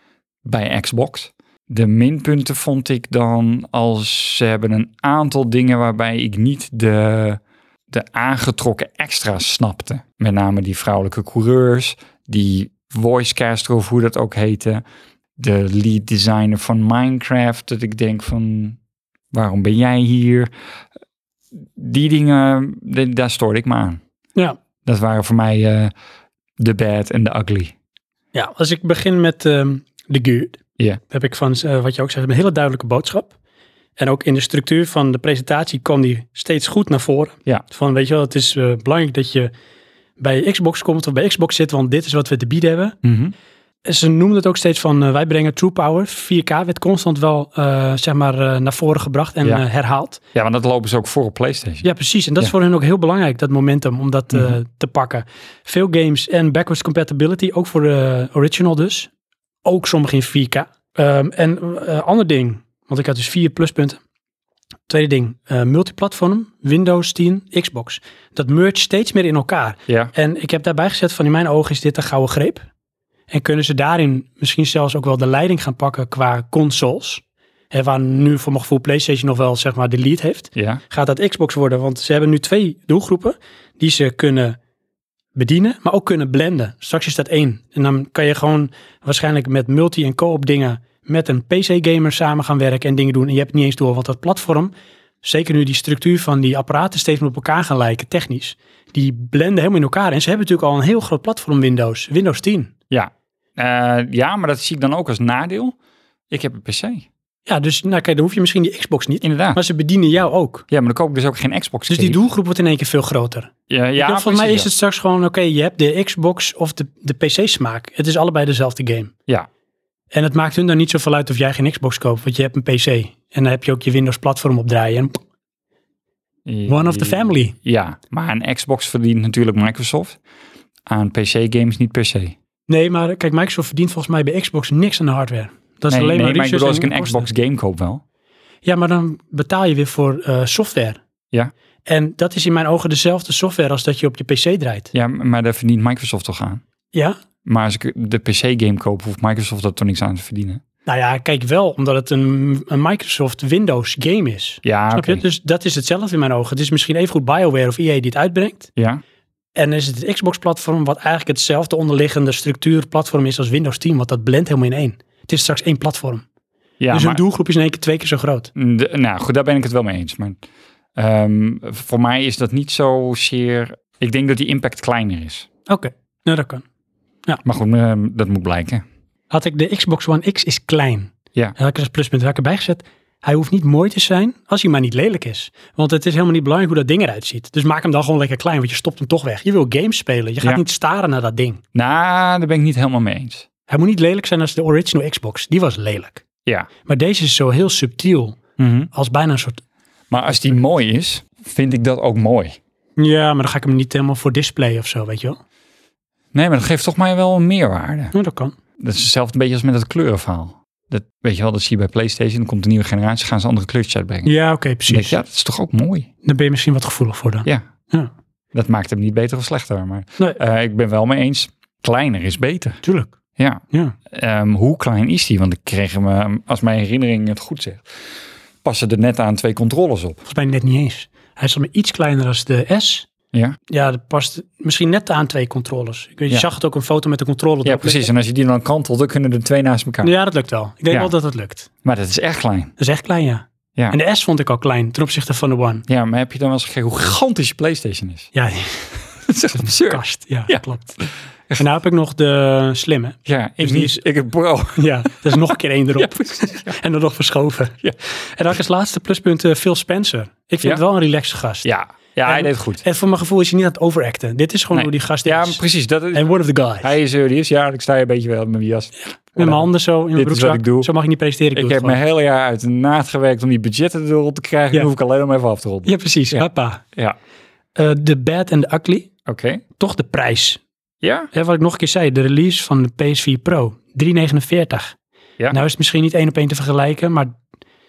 S2: bij Xbox. De minpunten vond ik dan als ze hebben een aantal dingen waarbij ik niet de, de aangetrokken extra's snapte. Met name die vrouwelijke coureurs, die voicecaster of hoe dat ook heette. De lead designer van Minecraft, dat ik denk van waarom ben jij hier? Die dingen, de- daar stoorde ik me aan.
S1: Ja.
S2: Dat waren voor mij eh, de bad en de ugly.
S1: ja, als ik begin met ehm, de good.
S2: Ja.
S1: Heb ik van, eh, wat je ook zegt, een hele duidelijke boodschap. En ook in de structuur van de presentatie kwam die steeds goed naar voren.
S2: Ja.
S1: Van, weet je wel, het is eh, belangrijk dat je bij Xbox komt of bij Xbox zit, want dit is wat we te bieden hebben. En ze noemden het ook steeds van eh, wij brengen True Power. 4K werd constant wel eh, zeg maar eh, naar voren gebracht en
S2: Ja.
S1: eh, herhaald.
S2: Ja, want dat lopen ze ook voor op PlayStation.
S1: Ja, precies. En dat
S2: Ja.
S1: is voor hen ook heel belangrijk, dat momentum, om dat eh,
S2: Mhm.
S1: te pakken. Veel games en backwards compatibility, ook voor de original dus. Ook sommige in 4K. Ehm, en eh, ander ding, want ik had dus vier pluspunten. Tweede ding, eh, multiplatform, Windows 10, Xbox. Dat merge steeds meer in elkaar.
S2: ja.
S1: En ik heb daarbij gezet van in mijn ogen is dit een gouden greep. En kunnen ze daarin misschien zelfs ook wel de leiding gaan pakken qua consoles. Hè, waar nu voor mijn gevoel PlayStation nog wel zeg maar de lead heeft.
S2: Ja,
S1: Gaat dat Xbox worden? Want ze hebben nu twee doelgroepen die ze kunnen bedienen, maar ook kunnen blenden. Straks is dat één. En dan kan je gewoon waarschijnlijk met multi- en co-op dingen met een PC-gamer samen gaan werken en dingen doen. En je hebt het niet eens door, want dat platform, zeker nu die structuur van die apparaten steeds meer op elkaar gaan lijken, technisch, die blenden helemaal in elkaar. En ze hebben natuurlijk al een heel groot platform Windows, Windows 10.
S2: ja. Eh, ja, maar dat zie ik dan ook als nadeel. Ik heb een PC.
S1: Ja, dus nou kijk, dan hoef je misschien die Xbox niet,
S2: Inderdaad.
S1: maar ze bedienen jou ook.
S2: Ja, maar dan koop ik dus ook geen Xbox.
S1: Dus die
S2: doet.
S1: doelgroep wordt in één keer veel groter.
S2: Ja, ja,
S1: Ja, volgens mij
S2: precies,
S1: is het straks gewoon, oké, je hebt de Xbox of de, de PC-smaak. Het is allebei dezelfde game.
S2: Ja.
S1: En het maakt hun dan niet zoveel uit of jij geen Xbox koopt, want je hebt een PC. En dan heb je ook je Windows-platform op draaien. En
S2: ja.
S1: one of the family.
S2: Ja, maar aan Xbox verdient natuurlijk Microsoft. Aan PC-games niet per se.
S1: Nee, maar kijk, Microsoft verdient volgens mij bij Xbox niks aan de hardware. Dat is
S2: nee,
S1: alleen
S2: nee,
S1: maar
S2: maar ik bedoel,
S1: research
S2: als ik
S1: en
S2: een
S1: kosten.
S2: Xbox game koop wel.
S1: Ja, maar dan betaal je weer voor eh, software.
S2: Ja.
S1: En dat is in mijn ogen dezelfde software als dat je op je PC draait.
S2: Ja, maar daar verdient Microsoft toch aan.
S1: Ja?
S2: Maar als ik de PC-game koop, hoeft Microsoft dat toch niks aan te verdienen.
S1: Nou ja, kijk wel, omdat het een, een Microsoft Windows game is.
S2: Ja,
S1: Snap je?
S2: oké.
S1: Dus dat is hetzelfde in mijn ogen. Het is misschien even goed BioWare of EA die het uitbrengt.
S2: Ja,
S1: En dan is het het Xbox-platform, wat eigenlijk hetzelfde onderliggende structuurplatform is als Windows 10, want dat blendt helemaal in één. Het is straks één platform.
S2: ja
S1: dus
S2: maar-
S1: hun doelgroep is in één keer twee keer zo groot.
S2: De- nou goed, daar ben ik het wel mee eens. Maar ehm, voor mij is dat niet zozeer. Ik denk dat die impact kleiner is.
S1: Oké, nou dat kan.
S2: Maar goed, ehm, dat moet blijken.
S1: Had ik de Xbox One X is klein.
S2: Ja.
S1: En had ik er als pluspunt had ik erbij gezet. Hij hoeft niet mooi te zijn als hij maar niet lelijk is. Want het is helemaal niet belangrijk hoe dat ding eruit ziet. Dus maak hem dan gewoon lekker klein, want je stopt hem toch weg. Je wil games spelen. Je gaat
S2: Ja.
S1: niet staren naar dat ding.
S2: Nou, daar ben ik niet helemaal mee eens.
S1: Hij moet niet lelijk zijn als de original Xbox. Die was lelijk.
S2: Ja.
S1: Maar deze is zo heel subtiel. Als bijna een soort
S2: Maar als die mooi is, vind ik dat ook mooi.
S1: Ja, maar dan ga ik hem niet helemaal voor display of zo, weet je wel.
S2: Nee, maar dat geeft toch mij wel een meerwaarde.
S1: Ja, dat kan.
S2: Dat is hetzelfde een beetje als met dat kleurenverhaal. Dat, weet je wel, dat zie je bij PlayStation. Dan komt een nieuwe generatie, gaan ze andere kleurtjes uitbrengen.
S1: Ja, oké,
S2: Dan denk
S1: precies.
S2: je, ja, dat is toch ook mooi.
S1: Daar ben je misschien wat gevoelig voor dan.
S2: Ja.
S1: Ja.
S2: Dat maakt hem niet beter of slechter. Maar
S1: Nee.
S2: eh, ik ben wel mee eens. Kleiner is beter.
S1: Tuurlijk.
S2: Ja.
S1: Ja.
S2: Ehm, hoe klein is die? Want ik kreeg hem, ehm, als mijn herinnering het goed zegt, passen er net aan twee controllers op.
S1: Volgens mij net niet eens. Hij is al maar iets kleiner als de S.
S2: Ja,
S1: Ja, dat past misschien net aan twee controllers. Ik weet, je
S2: Ja.
S1: zag het ook een foto met de controller.
S2: ja
S1: erop
S2: precies.
S1: liggen.
S2: En als je die dan kantelt, dan kunnen er twee naast elkaar.
S1: Ja, dat lukt wel. Ik denk
S2: Ja.
S1: wel dat het lukt.
S2: Maar dat is echt klein.
S1: Dat is echt klein, ja.
S2: Ja.
S1: En de S vond ik al klein ten opzichte van de One.
S2: Ja, maar heb je dan wel eens gekeken hoe gigantisch je PlayStation is?
S1: Ja,
S2: Dat is echt absurd.
S1: kast. Ja,
S2: Ja.
S1: klopt. En nou heb ik nog de slimme.
S2: Ja, ik,
S1: Dus die
S2: niet,
S1: is-
S2: ik heb bro.
S1: Ja, dat is nog een keer één erop.
S2: Ja, precies.
S1: En dan nog verschoven.
S2: Ja.
S1: En dan als laatste pluspunt eh, Phil Spencer. Ik vind
S2: Ja.
S1: het wel een relaxed gast.
S2: Ja, ja hij
S1: En-
S2: deed het goed.
S1: En voor mijn gevoel is hij niet aan het overacten. Dit is gewoon
S2: Nee.
S1: hoe die gast
S2: Ja,
S1: is.
S2: precies. Dat is,
S1: En one of the guys.
S2: hij is er, die is. Ja, ik sta hier een beetje wel met mijn jas.
S1: Met mijn handen zo in mijn
S2: Dit is wat
S1: broekzak.
S2: ik doe.
S1: Zo mag je niet presenteren. Ik,
S2: Ik
S1: doe het
S2: heb mijn
S1: gewoon.
S2: hele jaar uit de naad gewerkt om die budgetten erop te krijgen.
S1: Ja.
S2: Nu hoef ik alleen om even af te ronden.
S1: Ja, precies.
S2: Ja.
S1: Hoppa.
S2: Ja,
S1: Eh, The Bad and the Ugly.
S2: oké.
S1: Toch de prijs.
S2: Ja?
S1: Hè, wat ik nog een keer zei. De release van de PS4 Pro. 349.
S2: Ja.
S1: Nou is het misschien niet één op één te vergelijken. Maar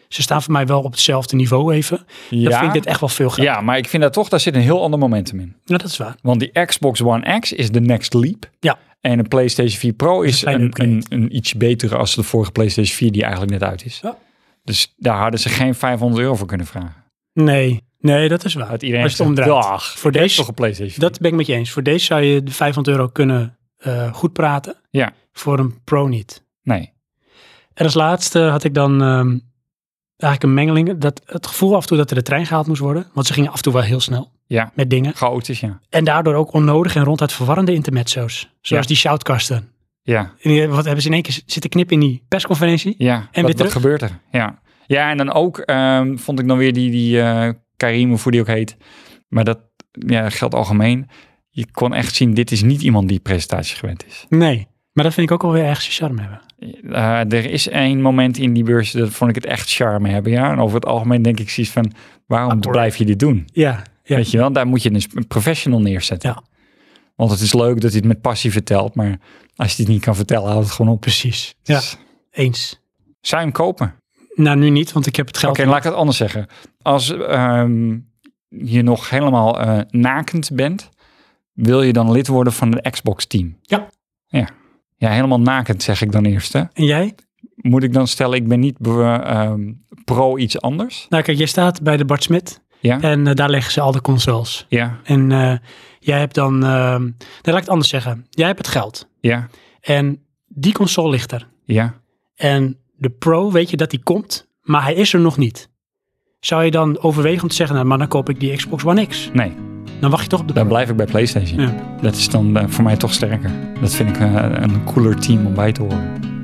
S1: ze staan voor mij wel op hetzelfde niveau even. Dat
S2: ja.
S1: vind ik dit echt wel veel geld.
S2: ja, maar ik vind dat toch, daar zit een heel ander momentum in.
S1: Nou, dat is waar.
S2: Want die Xbox One X is de next leap.
S1: Ja.
S2: En een PlayStation 4 Pro is
S1: kleine
S2: een,
S1: upgrade.
S2: een, een iets betere als de vorige PlayStation 4 die eigenlijk net uit is.
S1: Ja.
S2: Dus daar hadden ze geen 500 euro voor kunnen vragen.
S1: Nee. Nee, dat is waar.
S2: Had iedereen
S1: Als je het
S2: gezegd,
S1: omdraait.
S2: "Dag,
S1: Voor
S2: is
S1: deze
S2: toch een PlayStation 4?
S1: Dat ben ik met je eens. Voor deze zou je de 500 euro kunnen eh, goed praten.
S2: Ja.
S1: Voor een pro niet.
S2: Nee.
S1: En als laatste had ik dan ehm, eigenlijk een mengeling. Dat, het gevoel af en toe dat er de trein gehaald moest worden. Want ze gingen af en toe wel heel snel
S2: Ja.
S1: met dingen.
S2: Chaotisch, ja.
S1: En daardoor ook onnodig en ronduit verwarrende intermezzo's. Zoals
S2: Ja.
S1: die shoutkasten.
S2: Ja.
S1: En die- wat hebben ze in één keer zitten knippen in die persconferentie?
S2: Ja, en
S1: weer
S2: wat,
S1: terug?
S2: wat gebeurt er? Ja. ja, en dan ook ehm, vond ik dan weer die, die eh, Karim, of hoe die ook heet. Maar dat ja, geldt algemeen. Je kon echt zien, dit is niet iemand die presentatie gewend is.
S1: Nee. Maar dat vind ik ook alweer ergens zijn charme hebben.
S2: Eh, er is één moment in die beurs, dat vond ik het echt charme hebben. Ja, en over het algemeen denk ik zoiets van, waarom
S1: Akkoord.
S2: blijf je dit doen?
S1: Ja. ja.
S2: Weet je wel, daar moet je dus een professional neerzetten.
S1: Ja.
S2: Want het is leuk dat hij het met passie vertelt, maar als je het niet kan vertellen, houdt het gewoon op.
S1: Precies. Ja,
S2: Dus
S1: eens.
S2: zou je hem kopen?
S1: Nou, nu niet, want ik heb het geld.
S2: Oké, laat ik het anders zeggen. Als ehm, je nog helemaal eh, nakend bent, wil je dan lid worden van het Xbox-team?
S1: Ja.
S2: ja. Ja, helemaal nakend zeg ik dan eerst. Hè.
S1: En jij?
S2: Moet ik dan stellen, ik ben niet be- ehm, pro iets anders?
S1: Nou kijk, jij staat bij de Bart Smit.
S2: Ja.
S1: En eh, daar leggen ze al de consoles.
S2: Ja,
S1: En eh, jij hebt dan, ehm nee, laat ik het anders zeggen. Jij hebt het geld.
S2: ja,
S1: En die console ligt er.
S2: ja.
S1: En de Pro, weet je dat die komt, maar hij is er nog niet. Zou je dan overwegen om te zeggen, nou, maar dan koop ik die Xbox One X.
S2: Nee,
S1: Dan wacht je toch op de
S2: dan
S1: Pro.
S2: blijf ik bij PlayStation.
S1: Ja.
S2: Dat is dan eh, voor mij toch sterker. Dat vind ik eh, een cooler team om bij te horen.